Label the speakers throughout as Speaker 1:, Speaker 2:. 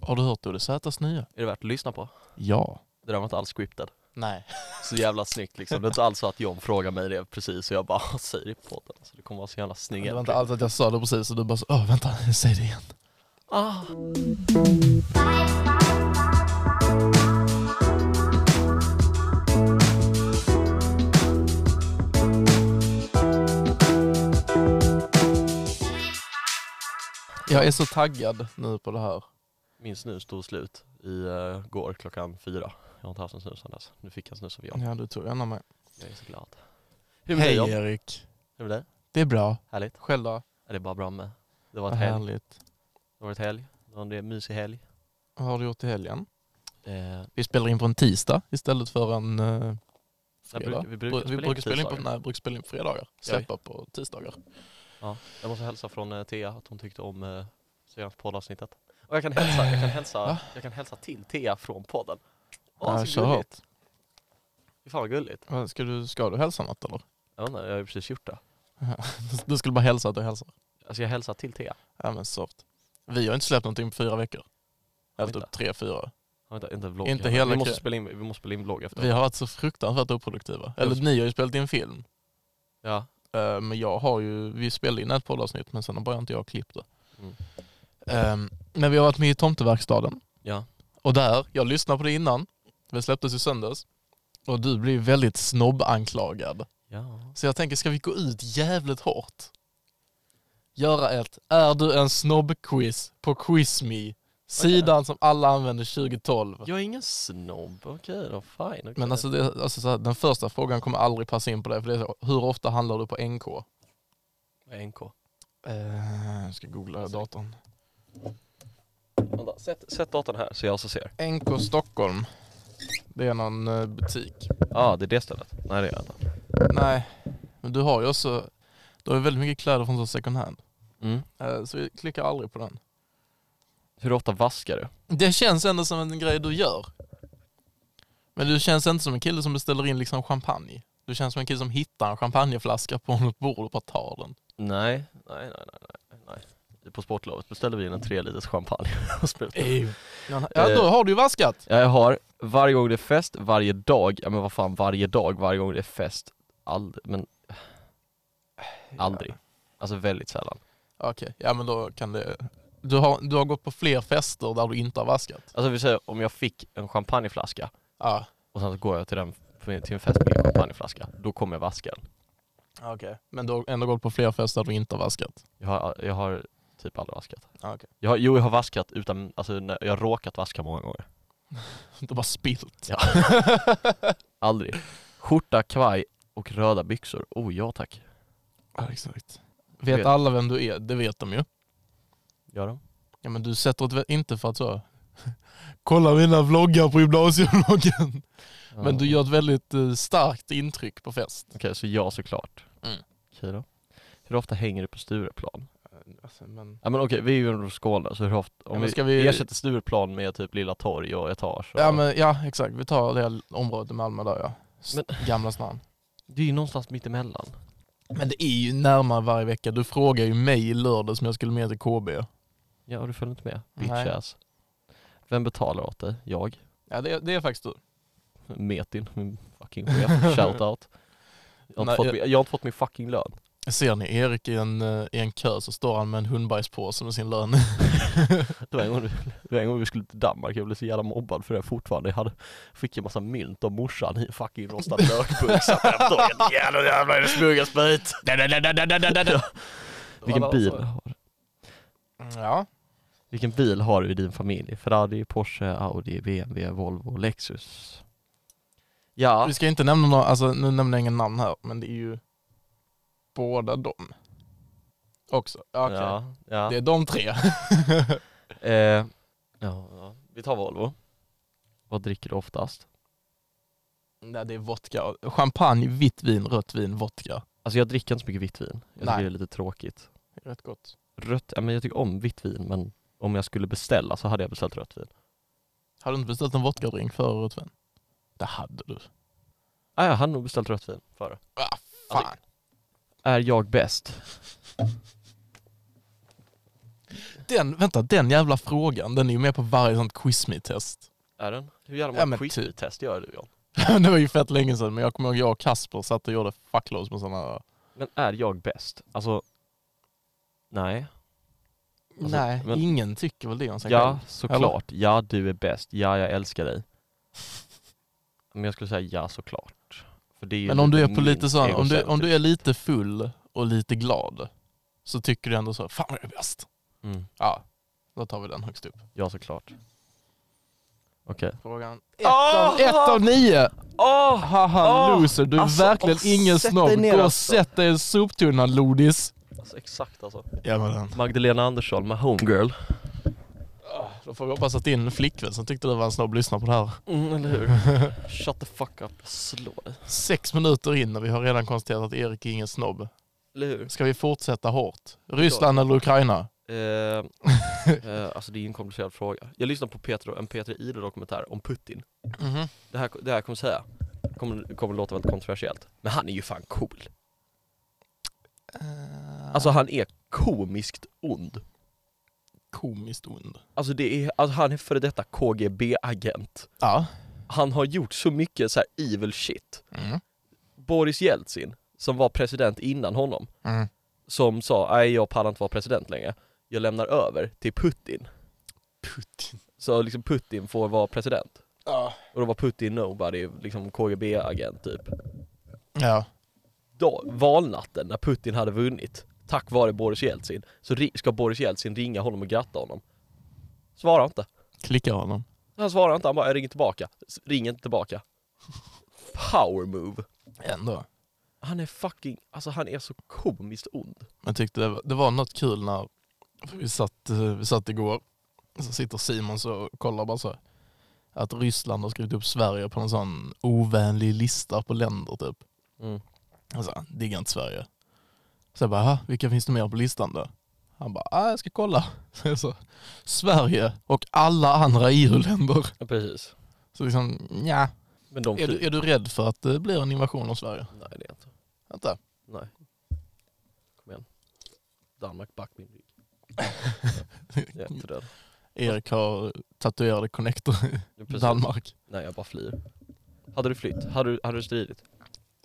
Speaker 1: Har du hört Olle Zätas nya?
Speaker 2: Är det värt att lyssna på?
Speaker 1: Ja.
Speaker 2: Det där var inte alls scripted.
Speaker 1: Nej.
Speaker 2: Så jävla snyggt liksom. Det är inte alls så att John frågar mig det precis och jag bara säger det på podden. Så det kommer vara så jävla snygg
Speaker 1: Det var inte alls att jag sa det precis och du bara så, "Åh, vänta, säg det igen.
Speaker 2: Ah.
Speaker 1: Jag är så taggad nu på det här.
Speaker 2: Min snus tog slut i eh, går klockan fyra. Jag har inte haft en snus sedan dess. Nu fick jag en snus av John.
Speaker 1: Ja, du tog gärna mig.
Speaker 2: Jag är så glad. Hur är det med dig John?
Speaker 1: Erik.
Speaker 2: Hur är det?
Speaker 1: Det är bra.
Speaker 2: Härligt?
Speaker 1: Själv då?
Speaker 2: Är det bara bra med? Det var
Speaker 1: Vad
Speaker 2: ett helg.
Speaker 1: härligt.
Speaker 2: Det var ett helg. Det var en mysig helg.
Speaker 1: Vad har du gjort i helgen?
Speaker 2: Eh,
Speaker 1: Vi spelar in på en tisdag istället för en eh,
Speaker 2: vi brukar-
Speaker 1: fredag.
Speaker 2: vi brukar
Speaker 1: Bru-
Speaker 2: spela in
Speaker 1: spela in
Speaker 2: på
Speaker 1: på,
Speaker 2: tisdagar.
Speaker 1: nej, brukar spela in på fredagar. Släppa på tisdagar.
Speaker 2: jag måste hälsa från eh, Thea att hon tyckte om eh, senaste poddavsnittet. Och jag kan hälsa, jag kan hälsa,
Speaker 1: Va?
Speaker 2: jag kan hälsa till Thea från podden.
Speaker 1: Ja,
Speaker 2: Åh, så
Speaker 1: kör
Speaker 2: gulligt. Fy fan vad gulligt.
Speaker 1: Vad, Ska du, ska du hälsa något eller?
Speaker 2: Jag undrar, jag har ju precis gjort det.
Speaker 1: Du skulle bara hälsa att du hälsar.
Speaker 2: Alltså jag hälsar till Thea.
Speaker 1: Ja men soft. Vi har inte släppt någonting på fyra veckor. Eller
Speaker 2: Vänta.
Speaker 1: typ tre, fyra.
Speaker 2: Ja, Vänta, inte vlogg.
Speaker 1: Inte
Speaker 2: Ja,
Speaker 1: hela
Speaker 2: vi, måste
Speaker 1: kre-
Speaker 2: spela in, vi måste spela in vlogg efter.
Speaker 1: Vi har varit så fruktansvärt oproduktiva. Eller
Speaker 2: Just.
Speaker 1: ni har ju spelat in film.
Speaker 2: Ja,
Speaker 1: Eh, Men jag har ju, vi spelade in ett poddavsnitt men sen har bara inte jag klippt det.
Speaker 2: Mm.
Speaker 1: Mm. Men vi har varit med i Tomteverkstaden.
Speaker 2: ja.
Speaker 1: Och där, jag lyssnade på det innan. Det släpptes i söndags. Och du blev väldigt snobbanklagad.
Speaker 2: ja.
Speaker 1: Så jag tänker, ska vi gå ut jävligt hårt? Göra ett Är du en snobb-quiz på Quizme. Sidan som alla använder 2012.
Speaker 2: Jag är ingen snobb, okej då, fine. okej.
Speaker 1: Men alltså, det, alltså så här, den första frågan kommer aldrig passa in på dig, för det är så, hur ofta handlar du på NK?
Speaker 2: Vad är NK?
Speaker 1: Eh, jag ska googla datorn.
Speaker 2: Vänta, sätt, sätt datorn här så jag också ser.
Speaker 1: NK Stockholm. Det är någon eh, butik.
Speaker 2: Ja, ah, det är det stället. Nej det är jag inte.
Speaker 1: Nej, men du har ju också, du har ju väldigt mycket kläder från så second hand.
Speaker 2: Mm.
Speaker 1: Eh, så vi klickar aldrig på den.
Speaker 2: Hur ofta vaskar du?
Speaker 1: Det känns ändå som en grej du gör. Men du känns inte som en kille som beställer in liksom champagne. Du känns som en kille som hittar en champagneflaska på något bord och bara tar den.
Speaker 2: Nej, nej, nej, nej, nej. nej. På sportlovet beställde vi in en tre liters champagne och sprutade.
Speaker 1: Ja, då har du ju vaskat.
Speaker 2: Ja, jag har varje gång det är fest, varje dag, ja men vad fan varje dag, varje gång det är fest, aldrig, men aldrig. Alltså väldigt sällan.
Speaker 1: Okej, ja men då kan det... Du har, du har gått på fler fester där du inte har vaskat?
Speaker 2: Alltså vi säger om jag fick en champagneflaska
Speaker 1: Ja.
Speaker 2: och sen så går jag till, den, till en fest med en champagneflaska, då kommer jag vaska den.
Speaker 1: Okej. Men du har ändå gått på fler fester där du inte har vaskat?
Speaker 2: Jag har, jag har typ aldrig vaskat.
Speaker 1: Ah, Okej.
Speaker 2: Jag har, jo, jag har vaskat utan, alltså när- jag har råkat vaska många gånger.
Speaker 1: Du har bara spilt?
Speaker 2: Ja. Aldrig. Skjorta, kavaj och röda byxor. Oh ja tack.
Speaker 1: ja exakt. Vet,
Speaker 2: Vet-
Speaker 1: alla vem du är? Det vet de ju.
Speaker 2: Gör de?
Speaker 1: Ja men du sätter ett... vä- Inte för att så... Kolla mina vloggar på gymnasievloggen. Men du gör ett väldigt eh, starkt intryck på fest.
Speaker 2: Okej, så ja såklart.
Speaker 1: Mm.
Speaker 2: Okej då. Hur ofta hänger du på Stureplan?
Speaker 1: alltså, men...
Speaker 2: Ja men okej, vi är ju från Skåne, så hur ofta? Om
Speaker 1: men ska
Speaker 2: vi,
Speaker 1: vi-
Speaker 2: ersätter Stureplan med typ Lilla Torg och Etage och...
Speaker 1: Ja, men, ja exakt, vi tar det området i Malmö där ja. S-
Speaker 2: Men-
Speaker 1: Gamla stan.
Speaker 2: Det är ju någonstans mittemellan.
Speaker 1: Men det är ju närmare varje vecka. Du frågar ju mig i lördags om jag skulle med till KB.
Speaker 2: Ja, och du följer inte med?
Speaker 1: Nej.
Speaker 2: Bitch ass. Vem betalar åt dig? Jag?
Speaker 1: Ja, det, det är faktiskt du.
Speaker 2: Metin, min fucking chef. Shout out. Jag har, inte
Speaker 1: Nej,
Speaker 2: fått
Speaker 1: jag-
Speaker 2: min, jag har inte fått min fucking lön.
Speaker 1: Ser ni Erik i en, eh, i en kö så står han med en hundbajspåse med sin lön.
Speaker 2: Det var en gång, det var en gång vi skulle till Danmark, jag blev så jävla mobbad för det fortfarande. Jag hade, fick en massa mynt av morsan i en fucking rostad lökburk. Satt jag på tåget, jävlar jävlar är det smuggas sprit. Vilken bil,
Speaker 1: alltså?
Speaker 2: har,
Speaker 1: Mm, Ja,
Speaker 2: vilken bil har du i din familj? Ferrari, Porsche, Audi, BMW, Volvo, Lexus? Ja,
Speaker 1: vi ska inte nämna några, alltså nu nämner jag ingen namn här, men det är ju båda dem. Också. Ja, Okej.
Speaker 2: ja, ja.
Speaker 1: Det är de tre.
Speaker 2: Eh, ja, ja. Vi tar Volvo. Vad dricker du oftast?
Speaker 1: Nej, det är vodka. Champagne, vitt vin, rött vin, vodka.
Speaker 2: Alltså jag dricker inte så mycket vitt vin. Jag tycker
Speaker 1: Nej.
Speaker 2: det är lite tråkigt.
Speaker 1: Rätt gott.
Speaker 2: rött, ja, men jag tycker om vitt vin men om jag skulle beställa så hade jag beställt rött vin.
Speaker 1: Har du inte beställt en vodkadrink före rött vin? Det hade du.
Speaker 2: Ah, jag hade nog beställt rött vin före.
Speaker 1: Ah,
Speaker 2: Alltså,
Speaker 1: fan.
Speaker 2: Är jag bäst?
Speaker 1: Den, vänta, den jävla frågan, den är ju med på varje sånt quizme-test.
Speaker 2: Är den? Hur jävla
Speaker 1: Ja,
Speaker 2: många
Speaker 1: men
Speaker 2: quiz-test gör du John?
Speaker 1: det var ju fett länge sedan, men jag kommer ihåg jag och Kasper satt och gjorde fuckloads med sådana...
Speaker 2: Men är jag bäst? Alltså, nej. Alltså,
Speaker 1: Nej,
Speaker 2: men-
Speaker 1: ingen tycker väl det om sig
Speaker 2: Ja,
Speaker 1: själv.
Speaker 2: såklart. Ja, du är bäst. Ja, jag älskar dig. Men jag skulle säga ja, såklart. För det är ju
Speaker 1: Men om du är
Speaker 2: lite
Speaker 1: på lite
Speaker 2: min
Speaker 1: sån, om du, om
Speaker 2: egocentrism.
Speaker 1: du är lite full och lite glad, så tycker du ändå så, fan vad jag är bäst.
Speaker 2: Mm,
Speaker 1: Ja, då tar vi den högst upp.
Speaker 2: ja, såklart. Okej.
Speaker 1: Frågan ett av, Ah! ett av nio!
Speaker 2: Åh!
Speaker 1: Haha
Speaker 2: Åh,
Speaker 1: loser, du är
Speaker 2: alltså,
Speaker 1: verkligen
Speaker 2: åh,
Speaker 1: ingen
Speaker 2: sätt
Speaker 1: snobb.
Speaker 2: dig ner,
Speaker 1: Gå och
Speaker 2: alltså.
Speaker 1: sätt dig i en soptunna lodis.
Speaker 2: Alltså exakt alltså.
Speaker 1: Jajamän.
Speaker 2: Magdalena Andersson med Homegirl.
Speaker 1: Ah, Då får vi hoppas att din flickvän som tyckte du var en snobb lyssnar på det här.
Speaker 2: Mm, eller hur? Shut the fuck up. Jag slår dig.
Speaker 1: Sex minuter in och vi har redan konstaterat att Erik är ingen snobb.
Speaker 2: Eller hur?
Speaker 1: Ska vi fortsätta hårt? Ryssland eller Ukraina?
Speaker 2: Eh, eh, alltså det är en komplicerad fråga. Jag lyssnade på Petro, en Peter Ide dokumentär om Putin.
Speaker 1: Mhm.
Speaker 2: Det här, det här jag kommer säga kommer, kommer låta väldigt kontroversiellt. Men han är ju fan cool. Alltså han är komiskt ond.
Speaker 1: Komiskt ond.
Speaker 2: Alltså, det är, alltså han är före detta KGB-agent.
Speaker 1: Ja.
Speaker 2: Han har gjort så mycket så här evil shit.
Speaker 1: Mm.
Speaker 2: Boris Jeltsin, som var president innan honom,
Speaker 1: Mm.
Speaker 2: som sa nej jag pallar inte vara president längre. Jag lämnar över till Putin.
Speaker 1: Putin.
Speaker 2: Så liksom Putin får vara president.
Speaker 1: Ja.
Speaker 2: Och då var Putin nobody, liksom KGB-agent typ.
Speaker 1: Ja.
Speaker 2: Då, valnatten när Putin hade vunnit, tack vare Boris Jeltsin, så ri- ska Boris Jeltsin ringa honom och gratta honom. Svarar inte.
Speaker 1: Klicka honom.
Speaker 2: Han svarar inte, han bara "Jag ringer tillbaka. S- Ringer inte tillbaka. Power move.
Speaker 1: Ändå.
Speaker 2: Han är fucking, alltså han är så komiskt ond.
Speaker 1: Jag tyckte det var, det var något kul när för vi satt, eh, vi satt igår, så sitter Simon så och kollar bara så här, att Ryssland har skrivit upp Sverige på en sån ovänlig lista på länder typ.
Speaker 2: Mm.
Speaker 1: Alltså, diggar inte Sverige. Så jag bara, "Aha, vilka finns det mer på listan då? Han bara, ah, jag ska kolla. Så jag sa, Sverige och alla andra EU-länder.
Speaker 2: Ja, precis.
Speaker 1: Så liksom, ja.
Speaker 2: Men de
Speaker 1: Är du, är du rädd för att det blir en invasion av Sverige?
Speaker 2: Nej det är inte.
Speaker 1: Vänta.
Speaker 2: Nej. Kom igen. Danmark back min rygg. Jag är inte rädd.
Speaker 1: Erik har tatuerade connector i
Speaker 2: Ja, precis.
Speaker 1: Danmark.
Speaker 2: Nej jag bara flyr. Hade du flytt? Hade du, hade du stridit?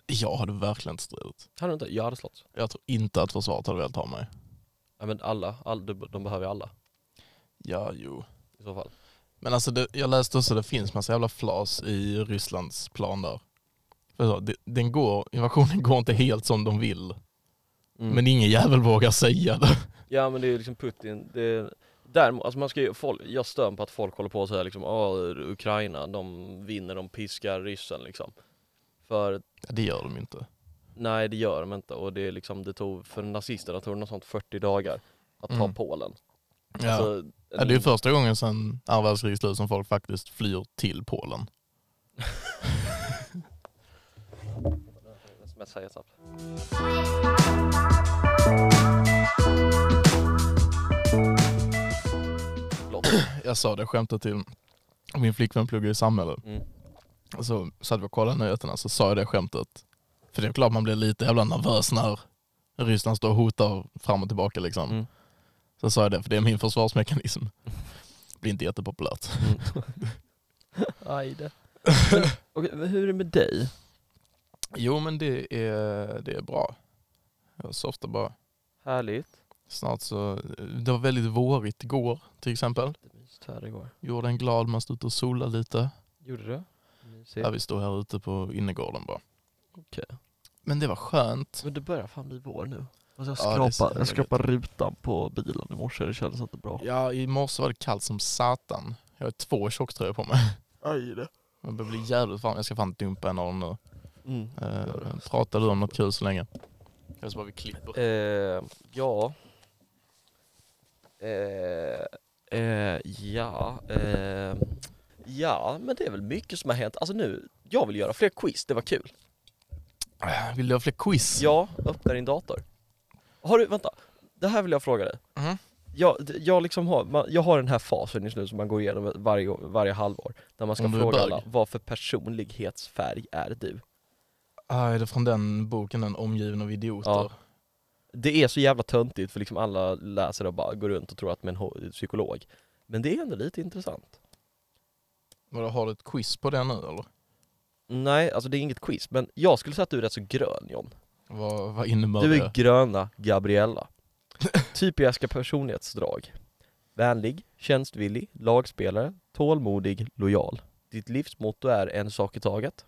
Speaker 1: Jag hade verkligen inte stridit.
Speaker 2: Hade du inte? Jag hade slått.
Speaker 1: Jag tror inte att försvaret hade velat ha mig.
Speaker 2: Ja, men alla, all, de, de behöver ju alla
Speaker 1: Ja, jo.
Speaker 2: i så fall.
Speaker 1: Men alltså det, jag läste också att det finns massa jävla flas i Rysslands plan där. För så, det- den går, invasionen går inte helt som de vill. Men ingen jävel vågar säga det.
Speaker 2: Ja men det är liksom Putin, det är, däremot, alltså man ska ju, folk, jag stör på att folk håller på och säger liksom "Åh, Ukraina, de vinner, de piskar ryssen liksom. För
Speaker 1: Ja, det gör de inte.
Speaker 2: nej det gör de inte och det är liksom, det tog, för nazisterna tog det något sånt 40 dagar att ta
Speaker 1: Mm.
Speaker 2: Polen.
Speaker 1: Ja.
Speaker 2: Alltså,
Speaker 1: ja, det är ju första gången sedan andra världskrigets slut som folk faktiskt flyr till Polen.
Speaker 2: Sms här snabbt. Förlåt.
Speaker 1: Jag sa det skämtet till min flickvän pluggar i samhälle.
Speaker 2: Mm.
Speaker 1: Och så satt vi och kollade nyheterna så sa jag det skämtet. För det är klart man blir lite jävla nervös när Ryssland står och hotar fram och tillbaka liksom.
Speaker 2: Mm.
Speaker 1: Så sa jag det, för det är min försvarsmekanism. Blir inte jättepopulärt.
Speaker 2: Aj det. Okej, men hur är det med dig?
Speaker 1: Jo men det är, det är bra. Jag softar bara.
Speaker 2: Härligt.
Speaker 1: Snart så, det var väldigt vårigt igår till exempel.
Speaker 2: Det myst här igår.
Speaker 1: Gjorde en glad, man stod ute och solade lite.
Speaker 2: Gjorde du?
Speaker 1: Ja, vi står här ute på innergården bara.
Speaker 2: Okej.
Speaker 1: Men det var skönt.
Speaker 2: Men det börjar fan bli vår nu. Alltså jag
Speaker 1: Ja, det är så
Speaker 2: skrapar,
Speaker 1: jävla
Speaker 2: jag skrapar rutan på bilen i morse, det kändes inte bra.
Speaker 1: Ja, i morse var det kallt som satan. Jag har två tjocktröjor på mig.
Speaker 2: Aj det.
Speaker 1: Jag börjar bli jävligt varm. Jag ska fan dumpa en av dem nu.
Speaker 2: Mm. Gör
Speaker 1: Eh,
Speaker 2: det.
Speaker 1: pratar du om något kul så länge? Eller så bara vi klipper.
Speaker 2: Eh, ja. Eh, eh, ja. Eh, ja, men det är väl mycket som har hänt. Alltså nu, jag vill göra fler quiz, det var kul.
Speaker 1: Eh, Vill du ha fler quiz?
Speaker 2: Ja, öppna din dator. Har du, vänta. Det här vill jag fråga dig.
Speaker 1: Mhm.
Speaker 2: Jag, d- jag, liksom har, man, jag har den här fasen just nu som man går igenom varje, gång- varje halvår. Där man ska
Speaker 1: Om du är
Speaker 2: fråga
Speaker 1: bög.
Speaker 2: alla, vad för personlighetsfärg är du?
Speaker 1: Ah, är det från den boken, Den omgiven av idioter?
Speaker 2: Ja. det är så jävla töntigt för liksom alla läser och bara går runt och tror att man är en ho- psykolog. Men det är ändå lite intressant.
Speaker 1: Men då har du ett quiz på det nu eller?
Speaker 2: Nej, alltså det är inget quiz, men jag skulle säga att du är rätt så grön John.
Speaker 1: Vad, vad innebär
Speaker 2: Du är
Speaker 1: det?
Speaker 2: gröna Gabriella. Typiska personlighetsdrag. Vänlig, tjänstvillig, lagspelare, tålmodig, lojal. Ditt livsmotto är en sak i taget.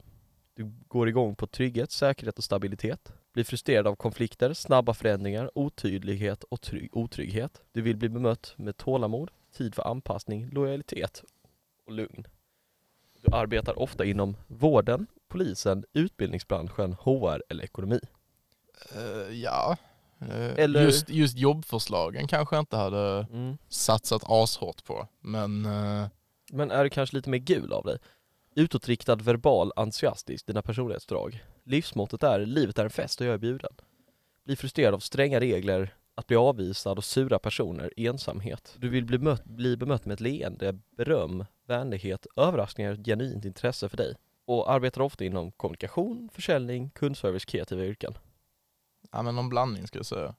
Speaker 2: Du går igång på trygghet, säkerhet och stabilitet. Blir frustrerad av konflikter, snabba förändringar, otydlighet och trygg, otrygghet. Du vill bli bemött med tålamod, tid för anpassning, lojalitet och lugn. Du arbetar ofta inom vården, polisen, utbildningsbranschen, HR eller ekonomi.
Speaker 1: Eh, ja. Eh,
Speaker 2: Eller-
Speaker 1: Just, just jobbförslagen kanske jag inte hade satsat ashårt på. Men eh,
Speaker 2: Men är du kanske lite mer gul av dig? Utåtriktad, verbal, entusiastisk, dina personlighetsdrag. Livsmåttet är livet är en fest och jag är bjuden. Bli frustrerad av stränga regler, att bli avvisad och sura personer, ensamhet. Du vill bli, mött, bli bemött med ett leende, beröm, vänlighet, överraskningar och ett genuint intresse för dig. Och arbetar ofta inom kommunikation, försäljning, kundservice, kreativa yrken.
Speaker 1: Ja men någon blandning ska jag säga.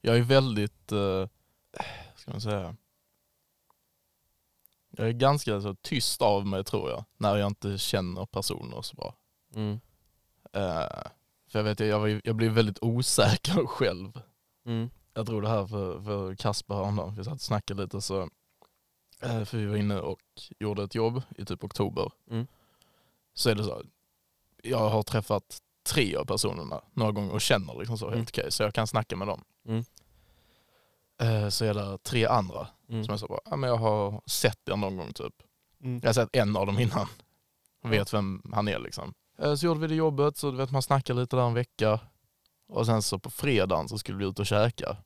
Speaker 1: Jag är väldigt, eh, ska man säga, jag är ganska så tyst av mig tror jag, när jag inte känner personer så bra.
Speaker 2: Mm.
Speaker 1: Eh, för jag vet, jag, var ju- jag blir väldigt osäker själv.
Speaker 2: mm,
Speaker 1: Jag tror det här för, för Kasper häromdagen, vi satt och snackade lite så, eh, för vi var inne och gjorde ett jobb i typ oktober.
Speaker 2: Mm.
Speaker 1: Så är det så, här, jag har träffat tre av personerna några gånger och känner liksom så helt
Speaker 2: Mm.
Speaker 1: okej, så jag kan snacka med dem.
Speaker 2: Mm.
Speaker 1: Eh, Så är det tre andra som
Speaker 2: Mm.
Speaker 1: jag så bara, ja, men jag har sett er någon gång typ. Jag har sett en av dem innan. Och vet vem han är liksom. Eh, Så gjorde vi det jobbet, så du vet man snackar lite där en vecka. Och sen så på fredagen så skulle vi ut och käka.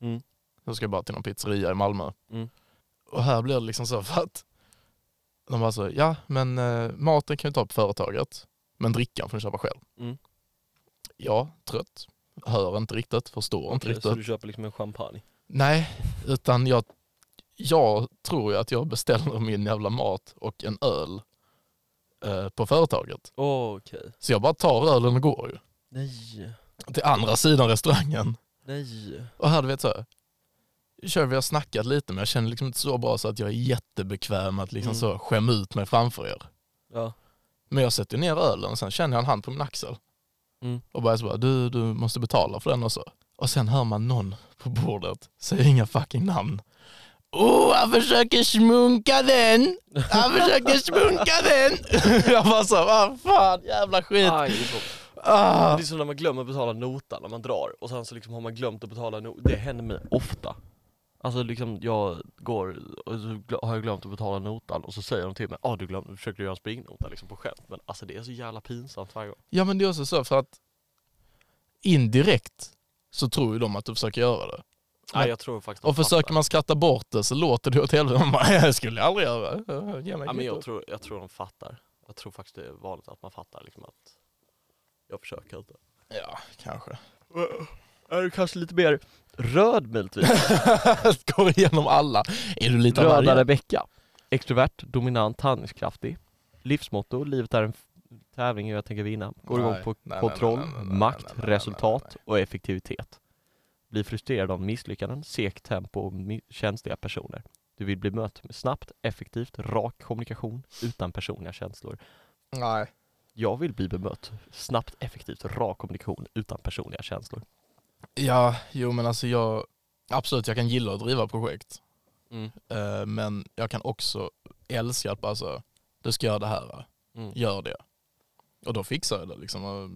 Speaker 2: Mm.
Speaker 1: Så ska jag bara till någon pizzeria i Malmö.
Speaker 2: Mm.
Speaker 1: Och här blir det liksom så för att de bara så, ja men eh, maten kan vi ta på företaget. Men drickan får ni köpa själv.
Speaker 2: Mm.
Speaker 1: Ja, trött. Hör inte riktigt, förstår inte
Speaker 2: Okej,
Speaker 1: riktigt.
Speaker 2: Så du köper liksom en champagne?
Speaker 1: Nej, utan jag, jag tror ju att jag beställer min jävla mat och en öl eh, på företaget.
Speaker 2: Okej.
Speaker 1: Så jag bara tar ölen och går ju.
Speaker 2: Nej.
Speaker 1: Till andra sidan restaurangen.
Speaker 2: Nej.
Speaker 1: Och här du vet så här. Kör vi har snackat lite men jag känner liksom inte så bra så att jag är jättebekväm att liksom
Speaker 2: Mm.
Speaker 1: så skämma ut mig framför er.
Speaker 2: Ja.
Speaker 1: Men jag sätter ner ölen och sen känner jag en hand på min axel.
Speaker 2: Mm.
Speaker 1: Och bara så bara, du, du måste betala för den och så. Och sen hör man någon på bordet säga inga fucking namn. Oh, han försöker smunka den! Han försöker smunka den! jag bara så, vad fan, jävla skit.
Speaker 2: Aj, det är så-
Speaker 1: Ah.
Speaker 2: Det är som när man glömmer betala notan när man drar och sen så liksom har man glömt att betala notan. Det händer mig ofta. Alltså liksom jag går och så gl- har jag glömt att betala notan och så säger de till mig ah du glömde, du försökte göra en springnota liksom på skämt. Men alltså det är så jävla pinsamt varje gång.
Speaker 1: Ja men det är också så för att indirekt så tror ju de att du försöker göra det.
Speaker 2: Nej jag tror faktiskt
Speaker 1: Och försöker man skratta bort det så låter det åt helvete. Man bara, det skulle jag aldrig göra. Ge mig
Speaker 2: Ja, men jag,
Speaker 1: kvitto.
Speaker 2: tror, jag tror de fattar. Jag tror faktiskt det är vanligt att man fattar liksom att jag försöker inte.
Speaker 1: ja kanske.
Speaker 2: Är du kanske lite mer röd möjligtvis?
Speaker 1: Går igenom alla. Är du lite av
Speaker 2: Röda
Speaker 1: varje?
Speaker 2: Rebecka. Extrovert, dominant, handlingskraftig. Livsmotto, livet är en f- tävling och jag tänker vinna. Går
Speaker 1: Nej,
Speaker 2: igång på
Speaker 1: nej, nej,
Speaker 2: kontroll,
Speaker 1: nej, nej, nej,
Speaker 2: makt,
Speaker 1: nej, nej, nej,
Speaker 2: resultat
Speaker 1: nej,
Speaker 2: och effektivitet. Blir frustrerad av misslyckanden, segt tempo och mi- känsliga personer. Du vill bli mött med snabbt, effektivt, rak kommunikation utan personliga känslor.
Speaker 1: Nej.
Speaker 2: Jag vill bli bemött snabbt, effektivt, rak kommunikation utan personliga känslor.
Speaker 1: Ja, jo men alltså jag, absolut jag kan gilla att driva projekt. Eh, men jag kan också älska att bara så, du ska göra det här, va?
Speaker 2: Mm.
Speaker 1: gör det. Och då fixar jag det liksom och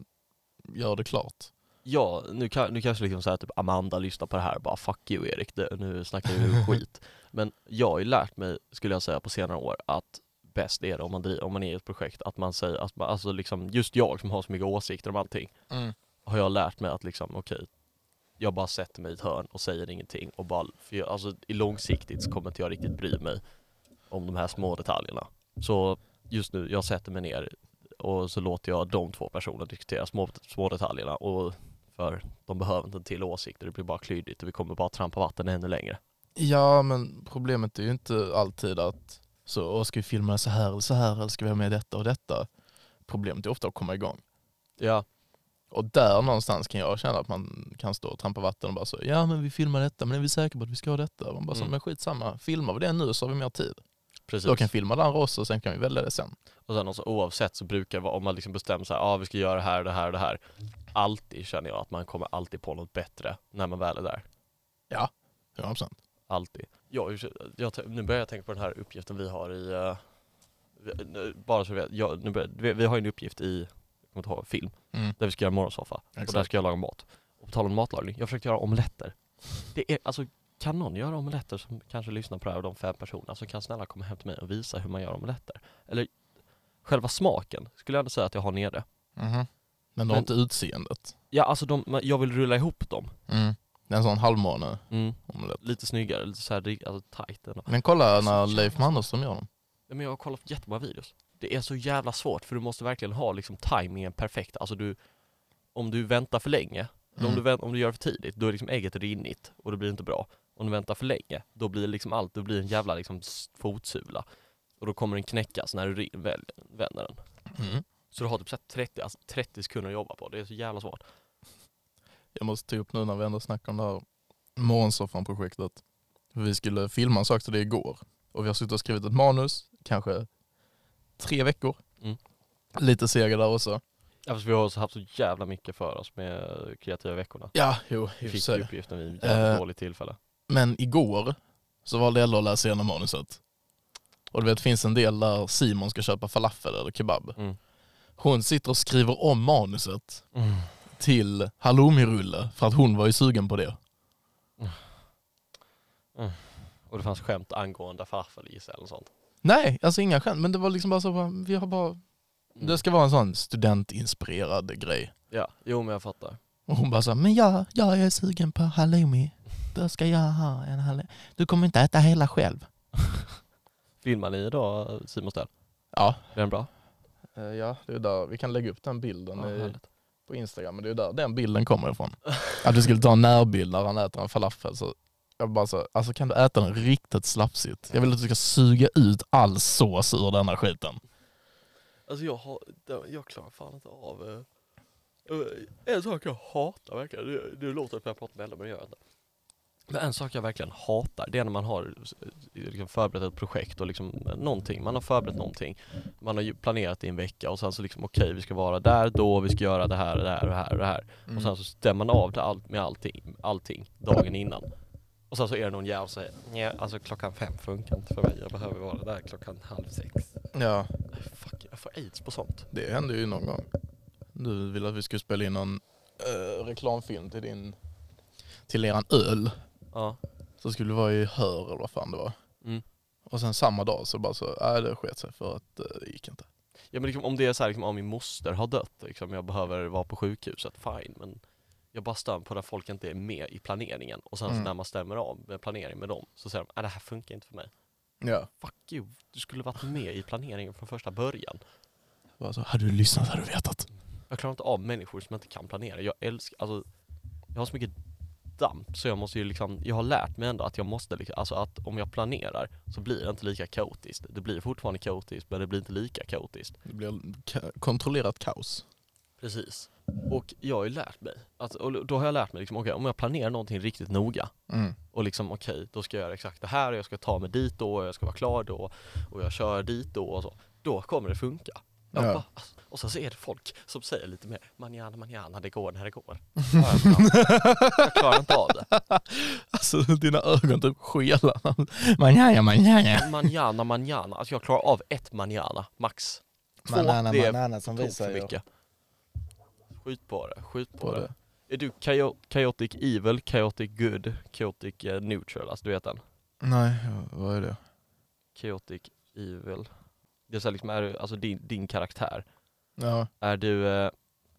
Speaker 1: gör det klart.
Speaker 2: Ja, nu, kan, nu kanske liksom så här, typ Amanda lyssnar på det här och bara 'fuck you Erik, det, nu snackar du skit' Men jag har ju lärt mig, skulle jag säga på senare år, att bäst är det om man, driver, om man är i ett projekt att man säger, att man, alltså liksom, just jag som har så mycket åsikter om allting har jag lärt mig att liksom, okej, jag bara sätter mig i ett hörn och säger ingenting och bara, för jag, alltså i långsiktigt så kommer inte jag riktigt bry mig om de här små detaljerna. Så just nu, jag sätter mig ner och så låter jag de två personerna diskutera små, små detaljerna och för de behöver inte en till åsikt det blir bara klyddigt och vi kommer bara trampa vatten ännu längre.
Speaker 1: Ja men problemet är ju inte alltid att så, "Åh, ska vi filma det så här eller så här eller ska vi ha med detta och detta. Problemet är ofta att komma igång.
Speaker 2: Ja.
Speaker 1: Och där någonstans kan jag känna att man kan stå och trampa vatten och bara så, ja men vi filmar detta men är vi säkra på att vi ska ha detta? Man bara så,
Speaker 2: Mm.
Speaker 1: men skitsamma, filmar vi det nu så har vi mer tid.
Speaker 2: Precis.
Speaker 1: Så jag kan filma det andra också och sen kan vi välja det sen.
Speaker 2: Och sen också, oavsett så brukar det vara, om man liksom bestämmer sig, ja ah, vi ska göra det här, det här, det här. Alltid känner jag att man kommer alltid på något bättre när man väl är där.
Speaker 1: 100%.
Speaker 2: Alltid. Jag, jag, t- nu börjar jag tänka på den här uppgiften vi har i, eh, vi- nu- bara så vi vet, jag, nu börjar, vi, vi har ju en uppgift i, jag kommer inte ihåg, film,
Speaker 1: Mm.
Speaker 2: där vi ska göra morgonsoffa. Och där
Speaker 1: Exakt.
Speaker 2: ska jag laga mat. Och på tal om matlagning, jag försökte göra omeletter. Det är, alltså, kan någon göra omeletter som kanske lyssnar på det här av de fem personerna så kan snälla komma hem till mig och visa hur man gör omeletter. Eller själva smaken skulle jag ändå säga att jag har nere.
Speaker 1: Mhm. Men du har
Speaker 2: Mm-hmm. Men-
Speaker 1: inte utseendet.
Speaker 2: Ja, alltså de, men jag vill rulla ihop dem.
Speaker 1: Det är en sån halvmåne
Speaker 2: Mm.
Speaker 1: omelett.
Speaker 2: Lite snyggare, lite såhär rikt- alltså, tight ändå.
Speaker 1: Men kolla
Speaker 2: Så
Speaker 1: när
Speaker 2: jävla
Speaker 1: Leif Mannerström gör dem.
Speaker 2: Ja, Men jag har kollat på jättemånga videos. Det är så jävla svårt för du måste verkligen ha liksom tajmingen perfekt. Alltså du, om du väntar för länge, eller om,
Speaker 1: Mm.
Speaker 2: du vänt, om du gör det för tidigt, då är liksom ägget rinnigt och det blir inte bra. Om du väntar för länge, då blir det liksom allt, då blir det en jävla liksom s- fotsula. Och då kommer den knäckas när du ri- väl, vänder den.
Speaker 1: Mm.
Speaker 2: Så du har typ så här 30, alltså 30 sekunder att jobba på, det är så jävla svårt.
Speaker 1: Jag måste ta upp nu när vi ändå snackar om det här morgonsoffan-projektet. Vi skulle filma en sak till det igår. Och vi har suttit och skrivit ett manus, kanske tre veckor.
Speaker 2: Mm.
Speaker 1: Lite seger där också.
Speaker 2: Ja, fast vi har också haft så jävla mycket för oss med kreativa veckorna.
Speaker 1: Ja, jo, i
Speaker 2: Vi
Speaker 1: och för
Speaker 2: fick
Speaker 1: sig.
Speaker 2: uppgiften vid ett jävligt
Speaker 1: Eh.
Speaker 2: dåligt tillfälle.
Speaker 1: Men igår så valde Ella att läsa igenom manuset. Och du vet, det finns en del där Simon ska köpa falafel eller kebab.
Speaker 2: Mm.
Speaker 1: Hon sitter och skriver om manuset till halloumirulle för att hon var ju sugen på det.
Speaker 2: Och det fanns skämt angående farfar gissar jag, eller sånt.
Speaker 1: Nej, alltså inga skämt, men det var liksom bara så, bara, vi har bara,
Speaker 2: Mm.
Speaker 1: det ska vara en sån studentinspirerad grej.
Speaker 2: Ja, jo men jag fattar.
Speaker 1: Och hon bara så, här, men jag, jag är sugen på halloumi. Då ska jag ha en halloumi. Du kommer inte äta hela själv.
Speaker 2: Filmar ni idag Simon Ställ?
Speaker 1: Ja. eh,
Speaker 2: Är den bra?
Speaker 1: Ja, det är där, vi kan lägga upp den bilden
Speaker 2: Ja, härligt.
Speaker 1: på Instagram, men det är ju där den bilden kommer ifrån. Att du skulle ta en närbild när han äter en falafel. Så jag bara så, alltså kan du äta den riktigt slafsigt? Jag vill att du ska suga ut all sås ur den här skiten.
Speaker 2: Alltså jag har, det- jag klarar fan inte av eh, eh, en sak jag hatar verkligen, det, det låter som jag pratar med äldre men det gör jag inte. Men en sak jag verkligen hatar, det är när man har eh, liksom förberett ett projekt och liksom eh, någonting, man har förberett någonting. Man har ju planerat i en vecka och sen så liksom okej vi ska vara där då, vi ska göra det här, det här, det här, det här. Och sen så stämmer man av det all, med allting, allting dagen innan. Och sen så är det någon jävel som säger "Nja, alltså klockan fem funkar inte för mig, jag behöver vara där klockan halv sex.
Speaker 1: Ja,
Speaker 2: Fuck, jag får aids på sånt.
Speaker 1: det hände ju någon gång. Du ville att vi skulle spela in någon eh, reklamfilm till din, till eran öl.
Speaker 2: Ja.
Speaker 1: Så skulle det vara i Hör eller vad fan det var.
Speaker 2: Mm.
Speaker 1: Och sen samma dag så bara så, nej det sket sig för att eh, det gick inte.
Speaker 2: ja men liksom, om det är så här, liksom, om min moster har dött, liksom, jag behöver vara på sjukhuset, fine. Men jag bara stör mig på när folk inte är med i planeringen och sen
Speaker 1: Mm.
Speaker 2: så när man stämmer av med planering med dem så säger de att det här funkar inte för mig.
Speaker 1: Ja.
Speaker 2: Fuck you, du skulle varit med i planeringen från första början.
Speaker 1: Bara så, hade du lyssnat hade du vetat.
Speaker 2: Jag klarar inte av människor som inte kan planera. Jag älskar, alltså jag har så mycket damp så jag måste ju liksom, jag har lärt mig ändå att jag måste liksom, alltså att om jag planerar så blir det inte lika kaotiskt. Det blir fortfarande kaotiskt men det blir inte lika kaotiskt.
Speaker 1: Det blir ka- kontrollerat kaos.
Speaker 2: Precis. Och jag har ju lärt mig, att, och då har jag lärt mig liksom, okej om jag planerar någonting riktigt noga
Speaker 1: Mm.
Speaker 2: och liksom okej, då ska jag göra exakt det här och jag ska ta mig dit då och jag ska vara klar då och jag kör dit då och så. Då kommer det funka. Jag
Speaker 1: Ja.
Speaker 2: bara, alltså, och sen så är det folk som säger lite mer manjana, manjana, det går när det går. Ja, jag klarar- Jag klarar inte av det.
Speaker 1: Alltså dina ögon typ skelar. Manjana, manjana.
Speaker 2: Manjana, manjana, alltså jag klarar av ett manjana, max. Två, det är
Speaker 1: manjana som
Speaker 2: tok för mycket. Skjut på det, skjut på,
Speaker 1: På
Speaker 2: det.
Speaker 1: det.
Speaker 2: Är du chao- chaotic evil, chaotic good, chaotic eh, neutral? Alltså du vet den?
Speaker 1: Nej, vad är det?
Speaker 2: Chaotic evil. Det är så här liksom, är du, alltså din, din karaktär.
Speaker 1: Ja,
Speaker 2: Är du eh,